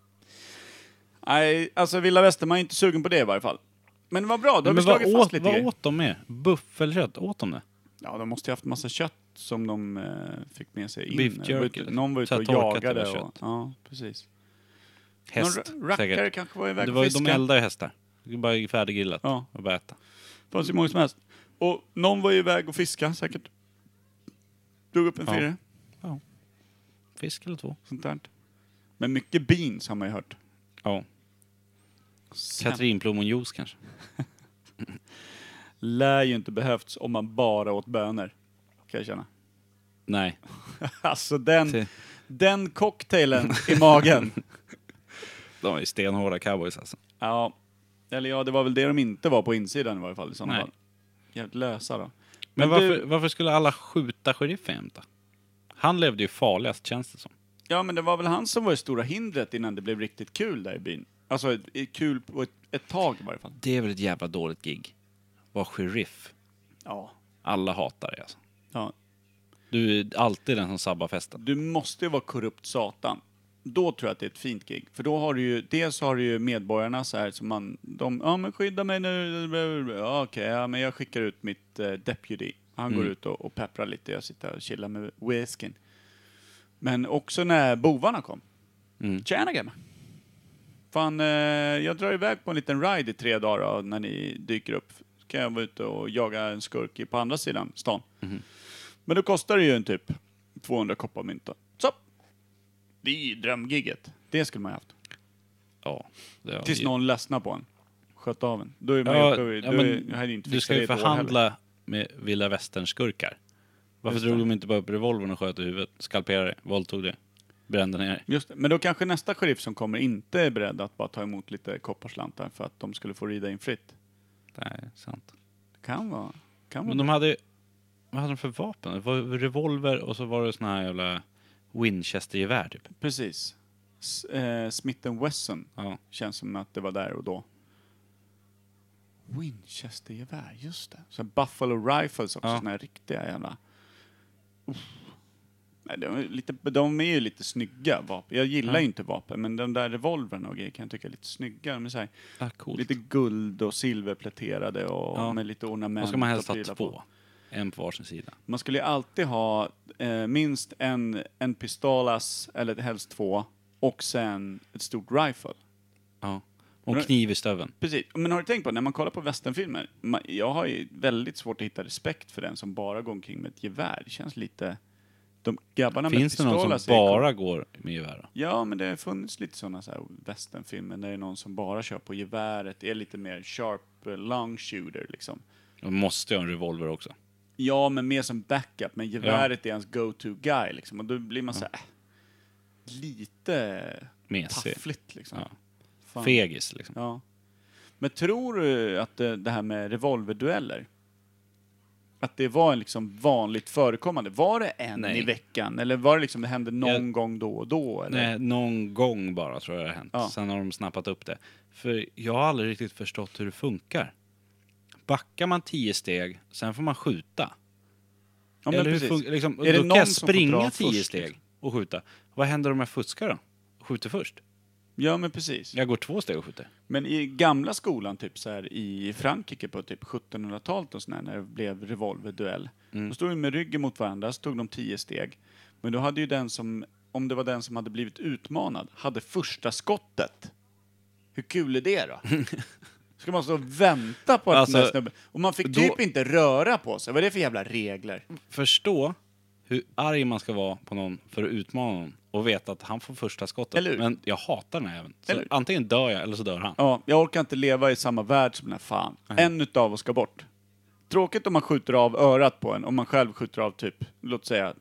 S1: Nej, alltså Villa Westerman är inte sugen på det i varje fall. Men vad bra, då har vi
S2: Men vad,
S1: slagit fast
S2: åt,
S1: lite
S2: vad
S1: grejer.
S2: åt de med? Buffelkött? Åt de det?
S1: Ja, de måste ju haft massa kött som de eh, fick med sig in.
S2: Beef
S1: De var ute-
S2: jerky, liksom.
S1: Någon var ute
S2: så
S1: och
S2: här torkat
S1: jagade.
S2: eller
S1: Och,
S2: kött.
S1: ja, precis.
S2: Häst
S1: någon ra- rackare
S2: säkert.
S1: kanske var iväg
S2: Det var ju
S1: och
S2: de
S1: fiskade.
S2: eldar ju hästar. Det är Bara färdiggrillat
S1: Ja.
S2: och bara äta.
S1: Det fanns ju många som helst. Och någon var ju iväg och fiska säkert. Drog upp en
S2: Ja.
S1: firre,
S2: Fisk eller två.
S1: sånt där. Men mycket beans har man ju hört.
S2: Ja.
S1: Sämst.
S2: Katrinplommonjuice kanske.
S1: lär ju inte behövts om man bara åt bönor. Kan jag känna.
S2: Nej.
S1: Alltså den,
S2: Se.
S1: den cocktailen i magen.
S2: De är ju stenhårda cowboys alltså.
S1: Ja, eller ja, det var väl det de inte var på insidan i varje fall i sådana
S2: Nej.
S1: fall. Jävligt lösa då.
S2: Men,
S1: Men
S2: varför,
S1: du-
S2: varför skulle alla skjuta sheriffen jämt då? Han levde ju farligast känns det som.
S1: Ja, men det var väl han som var det stora hindret innan det blev riktigt kul där i byn. Alltså ett- ett kul på ett, ett tag i varje fall.
S2: Det är väl ett jävla dåligt gig. Var sheriff.
S1: Ja.
S2: Alla hatar dig alltså.
S1: ja.
S2: Du är alltid den som sabbar festen.
S1: Du måste ju vara korrupt satan. Då tror jag att det är ett fint gig. För då har du ju, dels har du ju medborgarna så här som man, de, ja men skydda mig nu, ja, okej, ja men jag skickar ut mitt eh, deputy. Han går ut och, och pepprar lite, jag sitter och chillar med whiskyn. Men också när bovarna kom.
S2: Mm.
S1: Tjena gammal. Fan, eh, jag drar iväg på en liten ride i tre dagar då, när ni dyker upp. Så kan jag vara ute och jaga en skurk i- på andra sidan stan. Men då kostar det ju en typ 200 koppar mynt då. Så! Det är ju drömgigget. Det skulle man ha haft.
S2: Ja. Det har
S1: Tills
S2: vi-
S1: någon ledsnar på en. Sköt av en. Då är man
S2: Ja,
S1: uppe vid-
S2: ja,
S1: då är,
S2: men
S1: jag hade ju inte
S2: du
S1: fixat
S2: ska
S1: det i
S2: ju
S1: ett år heller.
S2: förhandla med vilda västern-skurkar. Varför
S1: Just
S2: drog
S1: det.
S2: de inte bara upp revolvern och sköt i huvudet? Skalperade det, våldtog det, brände ner det.
S1: Just det. Men då kanske nästa sheriff som kommer inte är beredd att bara ta emot lite kopparslantar för att de skulle få rida in fritt.
S2: Nej, sant.
S1: Det kan vara... Kan vara
S2: Men de hade ju- Vad hade de för vapen? Det var revolver och så var det såna här jävla Winchester-gevär typ.
S1: Precis. S- eh, Smith Wesson.
S2: Ja.
S1: Känns som att det var där och då. Winchester-gevär, just det. Så här Buffalo Rifles också,
S2: Ja.
S1: såna här riktiga jävla... Uff. Nej, de, är ju lite, de är ju lite snygga vapen. Jag gillar ju inte vapen, men de där revolverna och grejer kan jag tycka är lite snygga. De är så här,
S2: Ah, coolt.
S1: lite guld och silverpläterade och
S2: Ja.
S1: med lite ornament.
S2: Då ska man helst
S1: och
S2: ha
S1: prylar
S2: två.
S1: på.
S2: En på varsin sida.
S1: Man skulle ju alltid ha eh, minst en, en pistolas, eller helst två, och sen ett stort rifle.
S2: Ja. Och
S1: Men-
S2: kniv i stöven.
S1: Precis. Men har du tänkt på, när man kollar på westernfilmer, ma- jag har ju väldigt svårt att hitta respekt för den som bara går omkring med ett gevär. Det känns lite... De grabbarna med
S2: Finns det någon
S1: pistolas
S2: som
S1: är ju
S2: bara går med gevär? då?
S1: Ja, men det har funnits lite sådana så här westernfilmer där det är någon som bara kör på geväret, är lite mer sharp eh, long shooter liksom.
S2: De måste ju ha en revolver också.
S1: Ja, men mer som backup, men geväret är hans go-to guy liksom. Och då blir man så här, äh, lite
S2: Mesig.
S1: taffligt liksom.
S2: Ja.
S1: Fan.
S2: Fegis liksom.
S1: Ja. Men tror du att det, det här med revolverdueller, att det var en liksom vanligt förekommande? Var det en
S2: Nej.
S1: i veckan? Eller var det liksom det hände någon
S2: Jag-
S1: gång då och då? Eller?
S2: Nej, någon gång bara tror jag det har hänt.
S1: Ja.
S2: Sen har de snappat upp det. För jag har aldrig riktigt förstått hur det funkar. Backar man tio steg, sen får man skjuta.
S1: Ja, men
S2: Eller hur
S1: precis.
S2: fun- liksom,
S1: Är det
S2: då kan jag
S1: någon som får dra
S2: springa tio
S1: först,
S2: steg
S1: liksom?
S2: och skjuta. Vad händer om jag fuskar då? Skjuter först?
S1: Ja, men precis.
S2: Jag går två steg och skjuter.
S1: Men i gamla skolan, typ så här, i Frankrike på typ 1700-talet och sådär, när det blev revolverduell.
S2: Mm.
S1: Då stod de med ryggen mot varandra, så tog de tio steg. Men då hade ju den som, om det var den som hade blivit utmanad, hade första skottet. Hur kul är det då? Ska man stå och vänta på att
S2: Alltså,
S1: den här snubben... Och man fick
S2: då-
S1: typ inte röra på sig. Vad är det för jävla regler?
S2: Förstå hur arg man ska vara på någon för att utmana någon och veta att han får första skottet.
S1: Eller hur?
S2: Men jag hatar den här även. Så
S1: Eller hur?
S2: antingen dör jag eller så dör han.
S1: Ja, jag orkar inte leva i samma värld som den här fan. En utav oss ska bort. Tråkigt om man skjuter av örat på en, om man själv skjuter av typ, låt säga,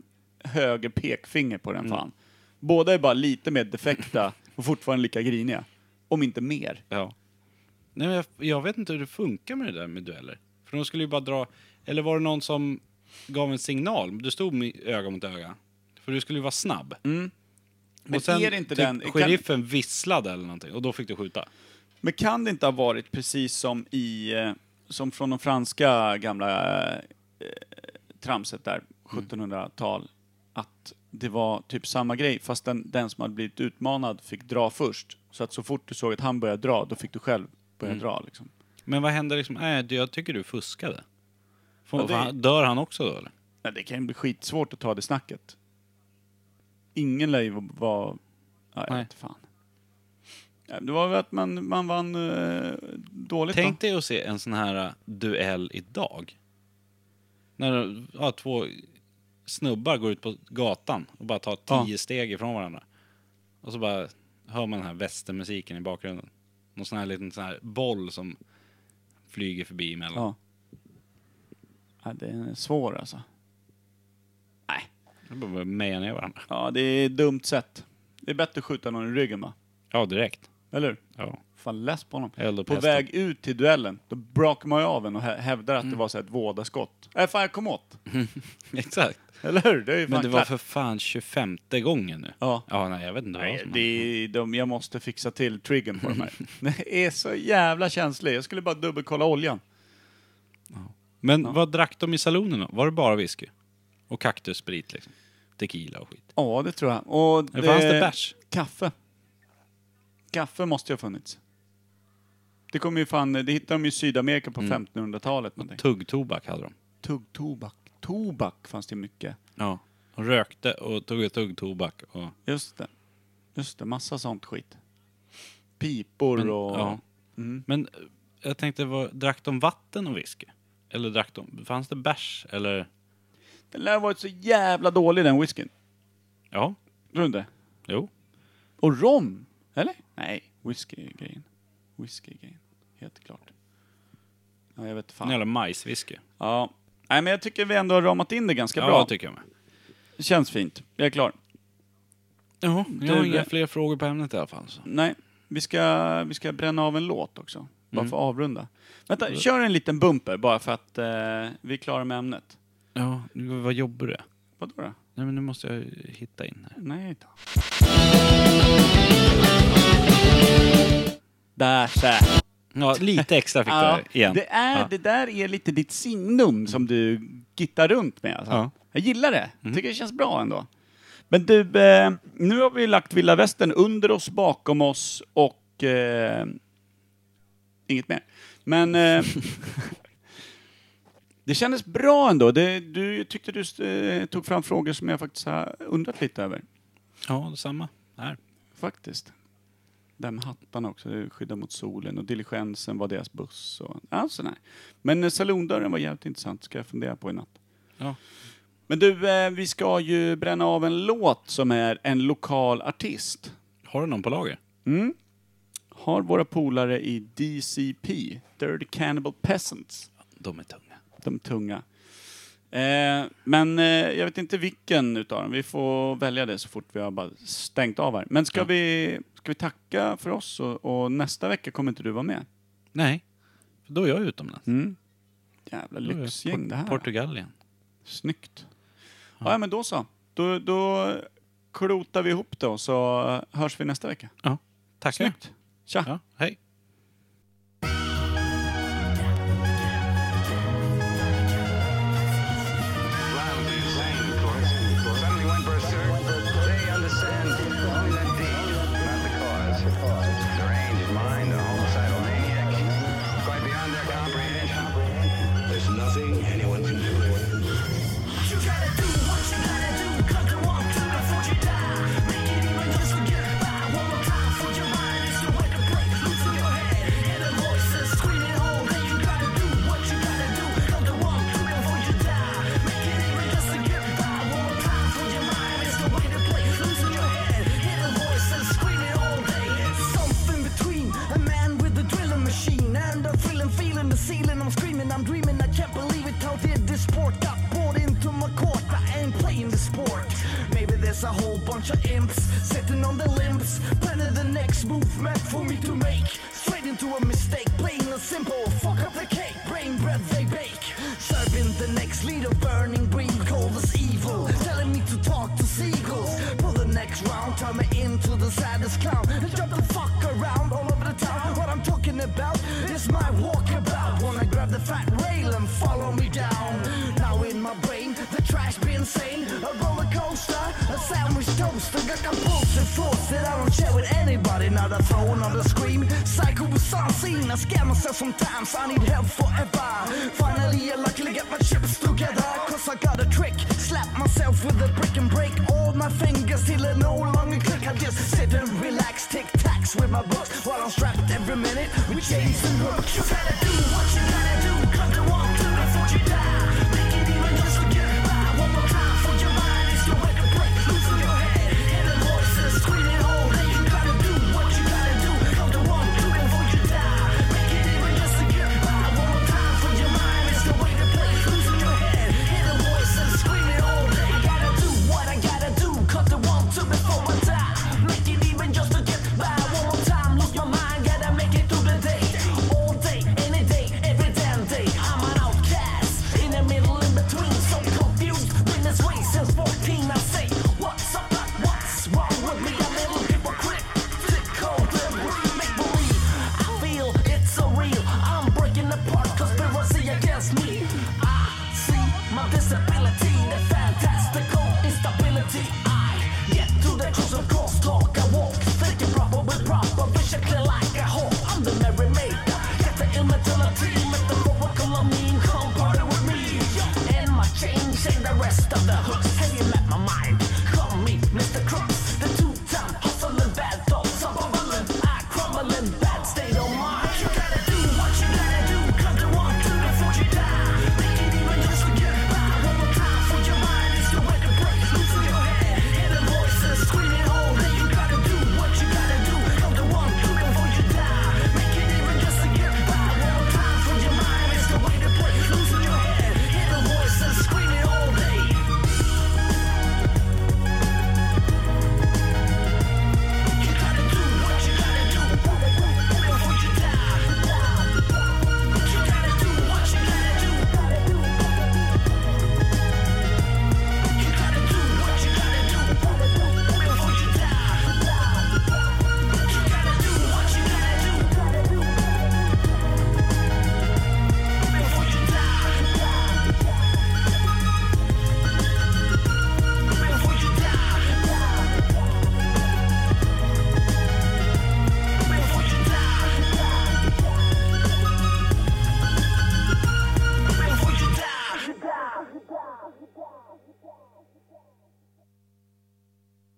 S1: höger pekfinger på
S2: Mm.
S1: den fan. Båda är bara lite mer defekta och fortfarande lika griniga. Om inte mer.
S2: Ja. Nej, men jag, jag vet inte hur det funkar med det där med dueller. För de skulle ju bara dra... Eller var det någon som gav en signal? Du stod med öga mot öga. För du skulle ju vara snabb.
S1: Mm. Men
S2: och sen
S1: är det inte
S2: typ,
S1: den- kan-
S2: sheriffen visslade eller någonting och då fick du skjuta.
S1: Men kan det inte ha varit precis som i, eh, som från de franska gamla eh, tramset
S2: Mm.
S1: där, 1700-tal, att det var typ samma grej, fast den, den som hade blivit utmanad fick dra först. Så att så fort du såg att han började dra, då fick du själv börja
S2: Mm.
S1: dra liksom.
S2: Men vad händer liksom? Nej, du, jag tycker du fuskade. Får,
S1: Ja, det-
S2: fan, Dör han också då eller?
S1: Nej, det kan ju bli skitsvårt att ta det snacket. Ingen lär ju vara... Ja, jag
S2: Nej.
S1: vet fan. Ja, Det var väl att man, man vann eh, dåligt
S2: Tänk
S1: då.
S2: dig att se en sån här ä, duell idag. När ja, två snubbar går ut på gatan och bara tar tio steg ifrån varandra. Och så bara hör man den här västermusiken i bakgrunden. Någon sån här liten sån här boll som flyger förbi emellan.
S1: Ja. ja, det är svår alltså. Nej.
S2: De bara börjar meja ner varandra.
S1: Ja, det är ett dumt sätt. Det är bättre att skjuta någon i ryggen va?
S2: Ja, direkt.
S1: Eller hur?
S2: Ja.
S1: Fan less på honom.
S2: Eld och
S1: På
S2: pesten.
S1: väg ut till duellen, då brakar man ju av en och hä- hävdar att det var så här ett vådaskott. Nej, fan jag kom åt.
S2: Exakt.
S1: Eller hur? Det är ju fan
S2: Men det var
S1: klart.
S2: för fan 25 gången nu.
S1: Ja.
S2: Ja, nej, jag vet inte vad
S1: Nej,
S2: som
S1: det är, de, jag måste fixa till triggern på de här. Den är så jävla känslig. Jag skulle bara dubbelkolla oljan.
S2: Men vad drack de i salonen då? Var det bara whisky? Och kaktussprit liksom? Tequila och skit.
S1: Ja, det tror jag. Och
S2: Det... Fanns det bärs?
S1: Kaffe. Kaffe måste ju ha funnits. Det kommer ju fan, det hittar de ju i Sydamerika
S2: Mm.
S1: på 1500-talet någonting.
S2: Tuggtobak hade de.
S1: Tuggtobak. Tobak fanns det mycket.
S2: Ja. Och rökte och tog tuggtobak. Och...
S1: Just det. Just det, massa sånt skit. Pipor
S2: Men,
S1: och...
S2: ja. Men eh, jag tänkte, vad, drack de vatten och whisky? Eller drack de, fanns det bärs? Eller,
S1: Den lär ha varit så jävla dålig den whiskyn.
S2: ja,
S1: Tror du inte?
S2: jo.
S1: Och rom? Eller? Nej, whisky är grejen. Whisky är grejen. Helt klart. Ja, jag vet
S2: En
S1: fan.
S2: jävla majswhisky.
S1: Ja. Nej, men jag tycker vi ändå har ramat in det ganska bra.
S2: Ja, tycker jag med.
S1: Det känns fint. Jag är klar.
S2: Ja, jag har
S1: Du-
S2: inga fler frågor på ämnet i alla fall. Så.
S1: Nej, vi ska, vi ska bränna av en låt också. Bara för att avrunda. Vänta, kör en liten bumper bara för att eh, vi är klara med ämnet.
S2: Ja, nu- vad jobbar du?
S1: Vadå då?
S2: Nej, men nu måste jag hitta in här.
S1: Nej då. Där så.
S2: Ja, lite extra fick
S1: Ja,
S2: du igen.
S1: Det, är,
S2: Ja.
S1: det där är lite ditt signum som du gittar runt med. Alltså.
S2: Ja. Mm.
S1: Jag gillar det. Tycker det känns bra ändå. Men du, eh, nu har vi lagt Vilda Västern under oss, bakom oss och... Eh, inget mer. Men... Eh, det kändes bra ändå. Det, du tyckte du eh, tog fram frågor som jag faktiskt har undrat lite över.
S2: Ja, detsamma. Här.
S1: Faktiskt. Där med hattarna också, det skyddar mot solen och diligensen var deras buss och alltså, nej. Men eh, salondörren var jävligt intressant, ska jag fundera på i natt.
S2: Ja.
S1: Men du, eh, vi ska ju bränna av en låt som är en lokal artist.
S2: Har du någon på lager?
S1: Mm. Har våra polare i DCP, Dirty Cannibal Peasants,
S2: De är tunga.
S1: de tunga. Eh, men eh, jag vet inte vilken utav dem, vi får välja det så fort vi har bara stängt av här. Men ska,
S2: Ja.
S1: vi, ska vi tacka för oss och, och nästa vecka kommer inte du vara med?
S2: Nej, för då är jag utomlands.
S1: Mm. Jävla
S2: Då är jag
S1: lyxgäng
S2: Por-
S1: det här.
S2: Portugal igen.
S1: Snyggt. Ja. ja, men då så. Då, då klotar vi ihop det och så hörs vi nästa vecka.
S2: Ja, tackar.
S1: Snyggt. Tja.
S2: Ja, hej.
S6: Suddenly went berserk. They understand only the deed, not the cause. Deranged mind, a homicidal maniac, quite beyond their comprehension. There's nothing anyone can do.
S7: Something between a man with a drilling machine and a thrilling feeling, the ceiling. I'm screaming, I'm dreaming. I can't believe it. How did this sport got brought into my court? I ain't playing the sport. Maybe there's a whole bunch of imps sitting on the limbs, planning the next movement for me to make. Straight into a mistake, plain and simple. Fuck up the cake, brain bread they bake. Serving the next leader, burning green coal is evil. Telling me to talk to seagulls. Pull the next round, turn me into the saddest clown. And jump the fuck around all over the town. What I'm talking about is my walkabout. Wanna grab the fat rail and follow me down. Now in my brain, the trash bin sane. A roller coaster, a sandwich toaster. Got compulsive thoughts that I don't share with anybody. Now they're throwing on the scream. Cycle with unseen. I scare myself sometimes. I need help forever. Finally, I luckily get my chips together. Cause I got a trick. Slap myself with a brick and break all my fingers till it no longer click. I just sit and relax, tic tacs with my books while I'm strapped every minute with chains and hooks. You gotta do what you gotta do. Cut the walk to before you die. Make it even just for you. One more time for your mind. It's your way to break loose from your head. Hear the voices screaming, oh, hey, you gotta do what you gotta do. Cut the walk to before you die. Make it even just for you. One more time for your mind. It's the way to break loose from your head. Hear the voices screaming, oh, hey, I gotta do what I gotta do. Cut the walk to before I die. Make it even just to get by. One more time, lose your mind. Gotta make it through the day. All day, any day, every damn day. I'm an outcast in the middle, in between. So confused, been this way since 14. I say, what's up? What's wrong with me? I'm a little hypocrite. Thick, cold, and real, make believe. I feel it's so real. I'm breaking apart conspiracy against me. I see my disability, the fantastical instability. I get to the cruise of course, talk and walk. Thinking proper with proper, viciously like a hawk. I'm the merrymaker. Get the ill mentality, metaphorical, I mean, come party with me. And my change and the rest of the hooks. Have you met my mind? Call me Mr. Crooks. The two-time hustling bad thoughts. I'm bubbling, I crumbling, bad state of mind. You gotta do what you gotta do. Come to one, two, before you die. Make it even just for you. One more time for your mind. It's the way to break loose from your head. Hear the voices screaming, oh, hey, you gotta do what you gotta do. Come to one, two, before you die. Make it even just to get by. One more time for your mind. It's the way to break loose from your head. Hear the voices screaming, oh, hey. down.